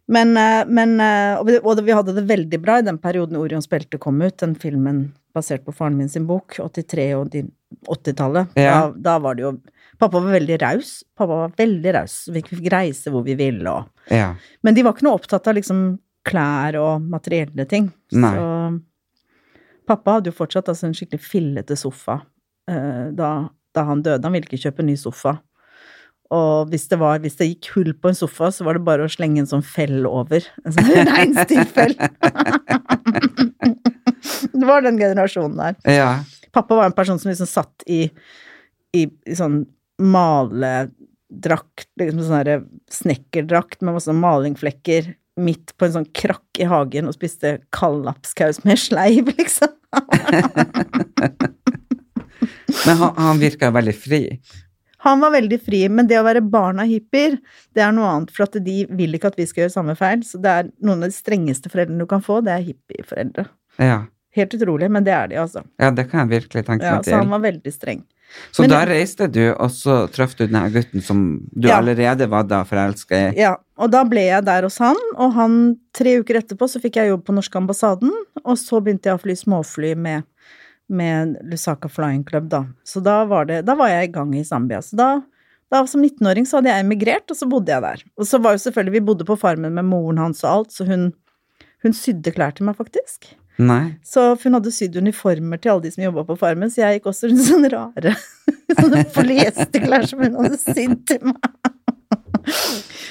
Speaker 2: Men, eh, men eh, og, vi, og vi hadde det veldig bra i den perioden Orions belte kom ut, den filmen basert på faren min sin bok, 83 og de- 80-tallet.
Speaker 1: Ja.
Speaker 2: Da, da var det jo Pappa var veldig raus. Pappa var veldig raus. Vi fikk reise hvor vi ville og
Speaker 1: Ja.
Speaker 2: Men de var ikke noe opptatt av liksom klær og materielle ting.
Speaker 1: Nei.
Speaker 2: Så pappa hadde jo fortsatt altså, en skikkelig fillete sofa eh, da, da han døde. Han ville ikke kjøpe en ny sofa. Og hvis det, var, hvis det gikk hull på en sofa, så var det bare å slenge en sånn fell over. En sånn reinsdyrfell. det var den generasjonen der.
Speaker 1: ja.
Speaker 2: Pappa var en person som liksom satt i, i, i sånn maledrakt, liksom sånn derre snekkerdrakt med masse malingflekker midt på en sånn krakk i hagen og spiste kaldlapskaus med sleiv, liksom.
Speaker 1: Men han, han virka veldig fri.
Speaker 2: Han var veldig fri, men det å være barn av hippier, det er noe annet, for at de vil ikke at vi skal gjøre samme feil, så det er noen av de strengeste foreldrene du kan få, det er hippieforeldre.
Speaker 1: Ja.
Speaker 2: Helt utrolig, men det er de, altså.
Speaker 1: ja, det kan jeg virkelig tenke
Speaker 2: Ja,
Speaker 1: meg
Speaker 2: så
Speaker 1: til.
Speaker 2: han var veldig streng.
Speaker 1: Så
Speaker 2: Men-
Speaker 1: da reiste du, og så traff du denne gutten som du
Speaker 2: Ja.
Speaker 1: allerede var da forelska i.
Speaker 2: Ja, og da ble jeg der hos han, og han tre uker etterpå så fikk jeg jobb på norske ambassaden, og så begynte jeg å fly småfly med, med Lusaka Flying Club, da. Så da var, det, da var jeg i gang i Zambia. Så da, da som 19-åring så hadde jeg emigrert, og så bodde jeg der. Og så var jo selvfølgelig, vi bodde på farmen med moren hans og alt, så hun, hun sydde klær til meg, faktisk.
Speaker 1: Nei.
Speaker 2: Så hun hadde sydd uniformer til alle de som jobba på farmen, så jeg gikk også rundt i sånne rare sånne polyesterklær som hun hadde sydd til meg.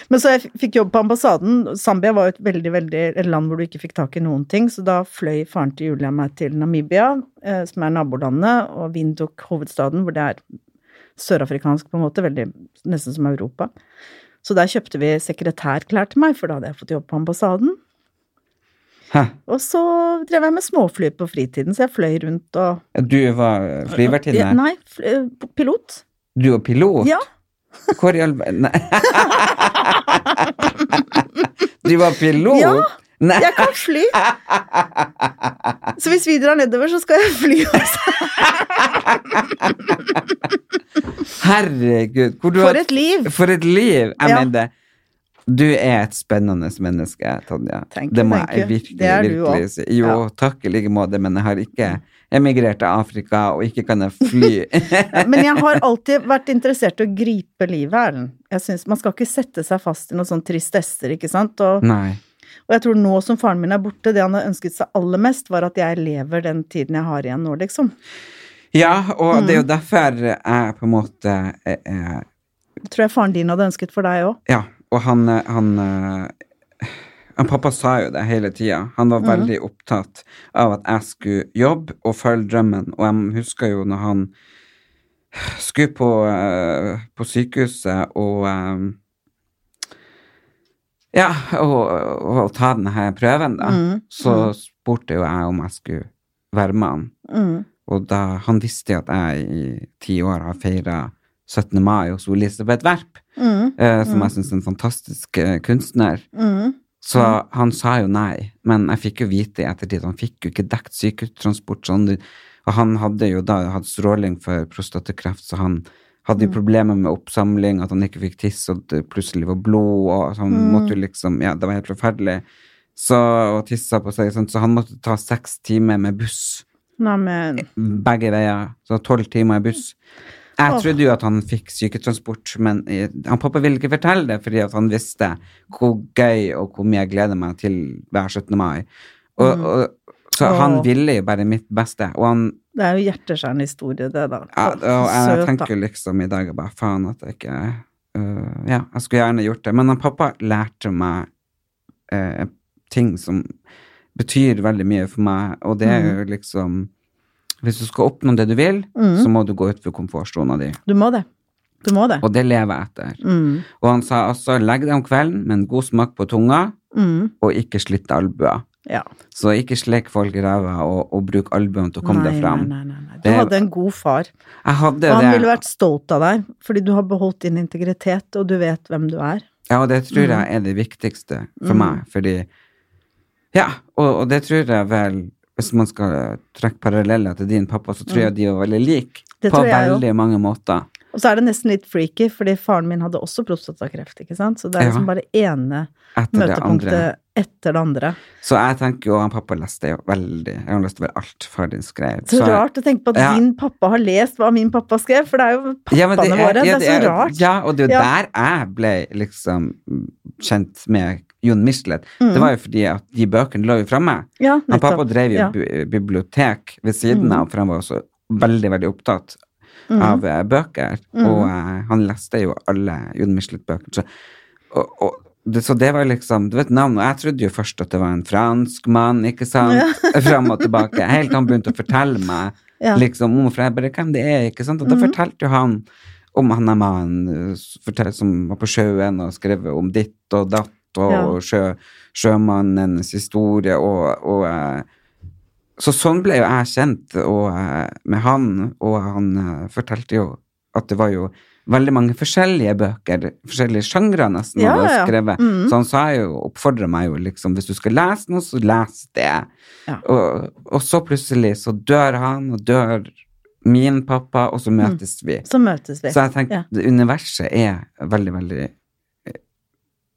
Speaker 2: Men så jeg fikk jobb på ambassaden. Zambia var jo et veldig, veldig et land hvor du ikke fikk tak i noen ting, så da fløy faren til Julia meg til Namibia, eh, som er nabolandet, og Windhoek, hovedstaden, hvor det er sørafrikansk på en måte, veldig, nesten som Europa. Så der kjøpte vi sekretærklær til meg, for da hadde jeg fått jobb på ambassaden.
Speaker 1: Hæ?
Speaker 2: Og så drev jeg med småfly på fritiden, så jeg fløy rundt og
Speaker 1: Du var
Speaker 2: Ja,
Speaker 1: flyvertinne?
Speaker 2: Nei, fl- eh, pilot.
Speaker 1: Du var pilot?
Speaker 2: Ja.
Speaker 1: Hvor i all ver- Nei. Du var pilot?
Speaker 2: Ja.
Speaker 1: Nei.
Speaker 2: Jeg kan fly! Så hvis vi drar nedover, så skal jeg fly også.
Speaker 1: Herregud. Hvor du
Speaker 2: For
Speaker 1: har-
Speaker 2: et liv!
Speaker 1: For et liv! Jeg
Speaker 2: Ja.
Speaker 1: mener det. Du er et spennende menneske, Tonja.
Speaker 2: Thank you,
Speaker 1: det må
Speaker 2: thank
Speaker 1: jeg
Speaker 2: you.
Speaker 1: virkelig,
Speaker 2: Det er du
Speaker 1: virkelig si.
Speaker 2: også.
Speaker 1: Jo, takk i like måte, men jeg har ikke emigrert til Afrika, og ikke kan jeg fly.
Speaker 2: Men jeg har alltid vært interessert i å gripe livet, Erlend. Jeg synes Man skal ikke sette seg fast i noen sånne tristesser, ikke sant? Og,
Speaker 1: Nei.
Speaker 2: og jeg tror nå som faren min er borte, det han har ønsket seg aller mest, var at jeg lever den tiden jeg har igjen nå, liksom.
Speaker 1: Ja, og det er
Speaker 2: Mm.
Speaker 1: jo derfor jeg på en måte eh, eh,
Speaker 2: Det tror jeg faren din hadde ønsket for deg òg.
Speaker 1: Ja, og han, eh, han, eh, han Pappa sa jo det hele tida. Han var veldig opptatt av at jeg skulle jobbe og følge drømmen. Og jeg husker jo når han skulle på, eh, på sykehuset og eh, Ja, og, og, og ta denne prøven, da. Så spurte jo jeg om jeg skulle være med han.
Speaker 2: Mm.
Speaker 1: Og da, han visste jo at jeg i ti år har feira 17. mai hos Elisabeth Werp, eh, som jeg syns er en fantastisk eh, kunstner. Så han sa jo nei, men jeg fikk jo vite i ettertid han fikk jo ikke dekt syketransport. Sånn, og han hadde jo da hatt stråling for prostatakreft, så han hadde jo problemer med oppsamling, at han ikke fikk tiss, og det plutselig var blod, og så han måtte jo liksom Ja, det var helt forferdelig. Så, og tissa på seg, sånn, så han måtte ta seks timer med buss
Speaker 2: Nei, men
Speaker 1: begge veier. Så tolv timer i buss. Jeg
Speaker 2: Åh.
Speaker 1: trodde jo at han fikk syketransport, men eh, han pappa ville ikke fortelle det fordi at han visste hvor gøy og hvor mye jeg gleder meg til hver 17. mai. Og, og, så
Speaker 2: Mm. Åh.
Speaker 1: han ville jo bare mitt beste. Og han
Speaker 2: det er jo hjerteskjærende historie, det, da.
Speaker 1: ja,
Speaker 2: Å,
Speaker 1: og jeg
Speaker 2: søt, da.
Speaker 1: tenker jo liksom i dag bare faen at jeg ikke øh, Ja, jeg skulle gjerne gjort det. Men han pappa lærte meg eh, ting som betyr veldig mye for meg, og det er jo liksom Hvis du skal oppnå det du vil,
Speaker 2: Mm.
Speaker 1: så må du gå utenfor komfortsona di.
Speaker 2: Du må det. Du må det.
Speaker 1: Og det lever jeg etter.
Speaker 2: Mm.
Speaker 1: Og han sa også 'legg deg om kvelden med en god smak på tunga,
Speaker 2: Mm.
Speaker 1: og ikke slitt albuer'.
Speaker 2: Ja.
Speaker 1: Så ikke slekk folk i ræva og, og bruk albuen til å komme
Speaker 2: nei,
Speaker 1: deg fram.
Speaker 2: Nei, nei, nei. Du
Speaker 1: Det-
Speaker 2: hadde en god far.
Speaker 1: Jeg hadde
Speaker 2: Og han
Speaker 1: det.
Speaker 2: ville vært stolt av deg, fordi du har beholdt din integritet, og du vet hvem du er.
Speaker 1: Ja, og det tror jeg
Speaker 2: Mm.
Speaker 1: er det viktigste for meg, fordi Ja, og, og det tror jeg vel Hvis man skal trekke paralleller til din pappa, så tror jeg de var veldig like
Speaker 2: Mm. Det
Speaker 1: på
Speaker 2: tror jeg jo.
Speaker 1: veldig mange måter.
Speaker 2: Og så er det nesten litt freaky, fordi faren min hadde også prostatakreft, ikke sant? Så det er
Speaker 1: Ja.
Speaker 2: liksom bare ene
Speaker 1: Etter det andre.
Speaker 2: møtepunktet etter det andre.
Speaker 1: Så jeg tenker jo han pappa leste jo veldig Jeg har lyst til å være alt far din skrev.
Speaker 2: Så rart å tenke på at
Speaker 1: Ja.
Speaker 2: din pappa har lest hva min pappa skrev, for det er jo pappaene
Speaker 1: Ja, men det er-
Speaker 2: våre.
Speaker 1: ja,
Speaker 2: det er så rart.
Speaker 1: Ja, og det er jo
Speaker 2: Ja.
Speaker 1: der jeg ble liksom kjent med Jon Michelet.
Speaker 2: Mm.
Speaker 1: Det var jo fordi at de bøkene lå jo framme.
Speaker 2: Ja,
Speaker 1: Han
Speaker 2: nettopp.
Speaker 1: pappa drev jo
Speaker 2: Ja. Mm.
Speaker 1: bi- bibliotek ved siden av, for han var også veldig, veldig opptatt av eh, bøker.
Speaker 2: Mm.
Speaker 1: Og eh, han leste jo alle Jon Michelet-bøker. Så, og, og, det, så det var liksom Du vet navnet, og jeg trodde jo først at det var en fransk mann, ikke sant? Fram og tilbake. Helt til han begynte å fortelle meg
Speaker 2: Ja. Mhm.
Speaker 1: liksom om for jeg bare, hvem det er, ikke sant? Og da fortalte jo han om han er mannen eh, fortell- som var på sjøen og skrev om ditt og datt. Og
Speaker 2: Ja.
Speaker 1: sjø, sjømannens historie og, og eh, så sånn ble jo jeg kjent og, eh, med han, og han eh, fortalte jo at det var jo veldig mange forskjellige bøker, forskjellige sjangre nesten,
Speaker 2: Ja,
Speaker 1: han hadde
Speaker 2: ja, ja.
Speaker 1: skrevet.
Speaker 2: Mhm.
Speaker 1: Så han sa jo, oppfordret meg jo liksom, hvis du skal lese noe, så les det.
Speaker 2: Ja.
Speaker 1: Og, og så plutselig så dør han, og dør min pappa, og så møtes vi.
Speaker 2: Så møtes vi.
Speaker 1: Så jeg tenker,
Speaker 2: Mm. Ja.
Speaker 1: det universet er veldig, veldig, eh,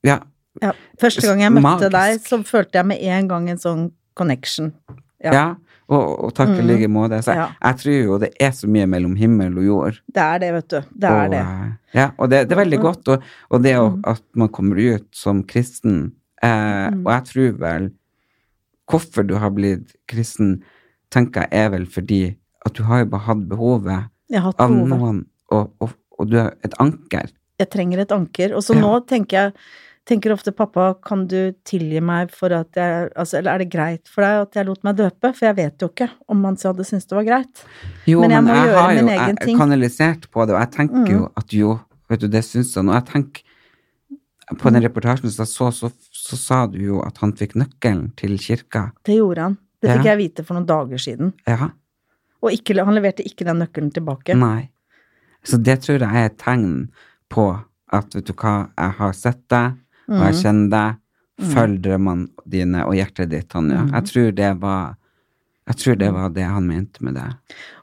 Speaker 1: ja,
Speaker 2: Ja. Første gang jeg møtte
Speaker 1: Magisk.
Speaker 2: deg, så følte jeg med en gang en sånn connection. Ja.
Speaker 1: ja. Og, og takk i
Speaker 2: Mhm.
Speaker 1: like måte. Så jeg,
Speaker 2: Ja.
Speaker 1: jeg tror jo det er så mye mellom himmel og jord.
Speaker 2: Det er det, vet du. Det er
Speaker 1: og,
Speaker 2: det. Mm.
Speaker 1: eh, Ja, og det, det er veldig godt. Og, og det å- at man kommer ut som kristen eh, Og
Speaker 2: Mm.
Speaker 1: jeg tror vel Hvorfor du har blitt kristen, tenker jeg er vel fordi at du har jo bare hatt behovet
Speaker 2: Jeg har hatt
Speaker 1: av
Speaker 2: behovet.
Speaker 1: noen, og, og, og du er et anker.
Speaker 2: jeg trenger et anker. Og så
Speaker 1: Ja.
Speaker 2: nå tenker jeg tenker ofte pappa, kan du tilgi meg for at jeg altså, Eller er det greit for deg at jeg lot meg døpe? For jeg vet jo ikke om han hadde syntes det var greit.
Speaker 1: Jo, men
Speaker 2: Men jeg
Speaker 1: jeg,
Speaker 2: må gjøre
Speaker 1: har jo
Speaker 2: min egen
Speaker 1: jeg-
Speaker 2: ting.
Speaker 1: kanalisert på det, og jeg tenker jo at jo, vet du, det syns han. Og jeg tenker på den reportasjen som jeg så, så, så sa du jo at han fikk nøkkelen til kirka.
Speaker 2: Det gjorde han. Det fikk
Speaker 1: Ja.
Speaker 2: jeg vite for noen dager siden.
Speaker 1: Ja.
Speaker 2: Og ikke, han leverte ikke den nøkkelen tilbake.
Speaker 1: Nei. Så det tror jeg er et tegn på at vet du hva, jeg har sett deg, og jeg kjenner deg. Følg drømmene dine og hjertet ditt, Tanja. Jeg tror det var jeg tror det var det han mente med det.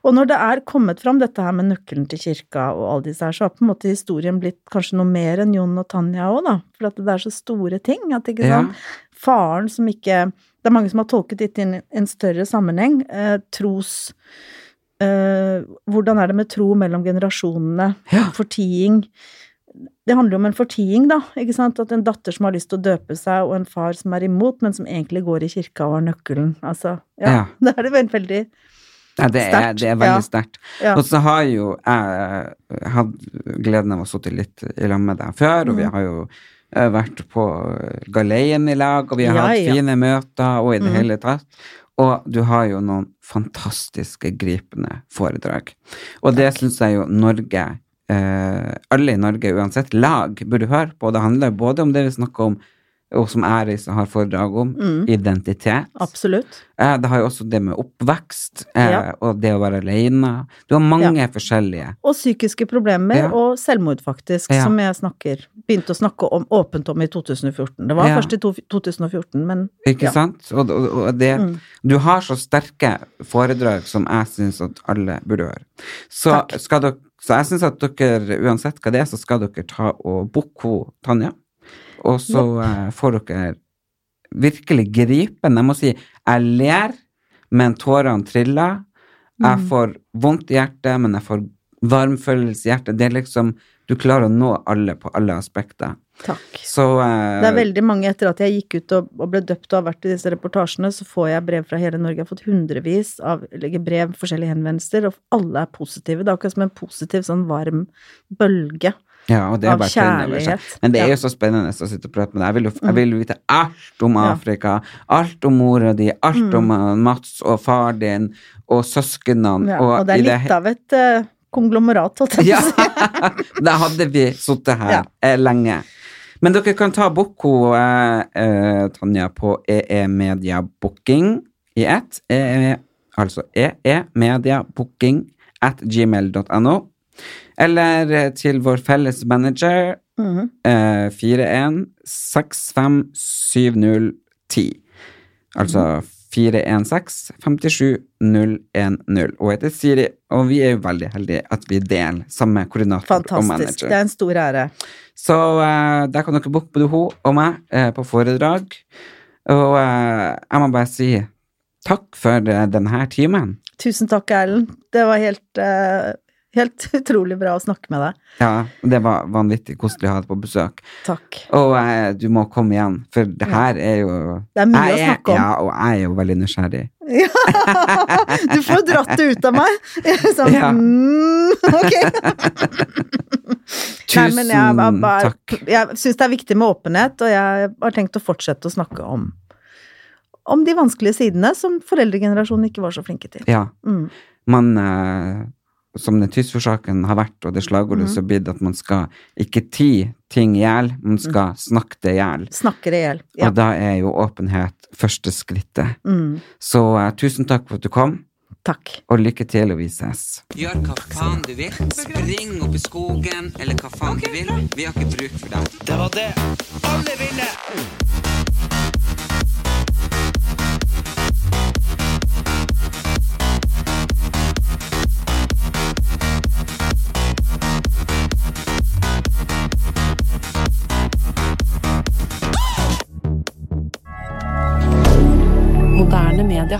Speaker 2: Og når det er kommet fram dette her med nøkkelen til kirka og alle disse her, så har på en måte historien blitt kanskje noe mer enn Jon og Tanja òg, da. For at det er så store ting. At, ikke
Speaker 1: Ja.
Speaker 2: sant? Faren som ikke Det er mange som har tolket dette inn i en større sammenheng. Eh, tros eh, Hvordan er det med tro mellom generasjonene?
Speaker 1: Ja.
Speaker 2: Fortiing. Det handler jo om en fortiing, da. ikke sant? At en datter som har lyst til å døpe seg, og en far som er imot, men som egentlig går i kirka og har nøkkelen. Altså, ja.
Speaker 1: Ja.
Speaker 2: Det er det vel- veldig
Speaker 1: Nei, det, er,
Speaker 2: Sterkt,
Speaker 1: det er
Speaker 2: ja.
Speaker 1: veldig sterkt.
Speaker 2: Ja.
Speaker 1: Og så har jo jeg eh, hatt gleden av å sitte litt i lag med deg før,
Speaker 2: Mm.
Speaker 1: og vi har jo eh, vært på galeien i lag, og vi har
Speaker 2: Ja,
Speaker 1: hatt
Speaker 2: ja. Mm.
Speaker 1: fine møter, og i det hele tatt. Og du har jo noen fantastiske, gripende foredrag. Og det syns jeg jo Norge eh, Alle i Norge, uansett lag, burde høre på. Det handler både om det vi snakker om, og som jeg reiser har foredrag om, identitet.
Speaker 2: Mm. Absolutt.
Speaker 1: Eh, Det har jo også det med oppvekst eh,
Speaker 2: Ja.
Speaker 1: og det å være alene. Du har mange forskjellige.
Speaker 2: Og psykiske problemer
Speaker 1: Ja.
Speaker 2: og selvmord, faktisk,
Speaker 1: Ja.
Speaker 2: som jeg snakker, begynte å snakke om, åpent om i 2014. Det var
Speaker 1: Ja.
Speaker 2: først i to, 2014, men
Speaker 1: Ikke
Speaker 2: Ja. Mm.
Speaker 1: sant? Og, og, og det, Du har så sterke foredrag som jeg syns at alle burde høre. Så,
Speaker 2: Takk.
Speaker 1: skal dere, så jeg syns at dere, uansett hva det er, så skal dere ta og booke ho Tanja. Og så eh, får dere virkelig gripen. Jeg må si, jeg ler, men tårene triller.
Speaker 2: Mm.
Speaker 1: Jeg får vondt i hjertet, men jeg får varmfølelse i hjertet. Det er liksom Du klarer å nå alle på alle aspekter.
Speaker 2: Takk.
Speaker 1: Så eh,
Speaker 2: Det er veldig mange etter at jeg gikk ut og, og ble døpt og har vært i disse reportasjene, så får jeg brev fra hele Norge. Jeg har fått hundrevis av eller brev, forskjellige henvendelser, og alle er positive. Det er akkurat som en positiv, sånn varm bølge.
Speaker 1: Ja, og det er
Speaker 2: Av
Speaker 1: bare tønn over seg.
Speaker 2: kjærlighet.
Speaker 1: Men det er
Speaker 2: Ja. Mm.
Speaker 1: jo så spennende å sitte og prate med deg. Jeg vil, jo, jeg vil jo vite alt om
Speaker 2: Ja. Mm.
Speaker 1: Afrika, alt om mora di, alt om eh, Mats og far din, og søsknene.
Speaker 2: Ja, og det er
Speaker 1: i
Speaker 2: litt av et eh, konglomerat, holdt jeg
Speaker 1: Ja!
Speaker 2: på å si.
Speaker 1: Da hadde vi sittet her
Speaker 2: Ja.
Speaker 1: eh, lenge. Men dere kan ta Boko, eh, eh, Tanja, på EE Media Booking i ett. EE, altså EE Media Booking at gmail.no. Eller eh, til vår felles manager
Speaker 2: Mhm.
Speaker 1: eh, 41 65 70 10. Altså 416 57 010. Og jeg heter Siri, og vi er jo veldig heldige at vi deler samme koordinator og
Speaker 2: Fantastisk.
Speaker 1: manager.
Speaker 2: Det er en stor ære.
Speaker 1: Så eh, der kan dere booke både hun og meg eh, på foredrag. Og eh, jeg må bare si takk for eh, denne timen.
Speaker 2: Tusen takk, Erlend. Det var helt, eh, helt utrolig bra å snakke med deg.
Speaker 1: Ja, det var vanvittig koselig å ha deg på besøk.
Speaker 2: Takk.
Speaker 1: Og eh, du må komme igjen, for det her er jo
Speaker 2: Det er mye
Speaker 1: Jeg
Speaker 2: å snakke om.
Speaker 1: Ja, og jeg er jo veldig nysgjerrig.
Speaker 2: Du får jo dratt det ut av meg! Sånn,
Speaker 1: Ja.
Speaker 2: mm, ok. Nei,
Speaker 1: Tusen
Speaker 2: men jeg, jeg, bare-
Speaker 1: takk.
Speaker 2: jeg syns det er viktig med åpenhet, og jeg har tenkt å fortsette å snakke om om de vanskelige sidene som foreldregenerasjonen ikke var så flinke til.
Speaker 1: Ja.
Speaker 2: Mm.
Speaker 1: Man eh, Som den tyskforsaken har vært, og det slagordet
Speaker 2: Mhm.
Speaker 1: som har blitt at man skal ikke ti ting i hjel, man skal snakke det i hjel.
Speaker 2: Snakker i hjel. Mm. Ja.
Speaker 1: Og da er jo åpenhet første skrittet.
Speaker 2: Mm,
Speaker 1: Så eh, tusen takk for at du kom,
Speaker 2: takk.
Speaker 1: og lykke til, og vi ses.
Speaker 3: Gjør hva faen du vil. Spring opp i skogen, eller hva faen du vil. Vi har ikke bruk for deg. Det var det alle ville!
Speaker 4: Moderne media.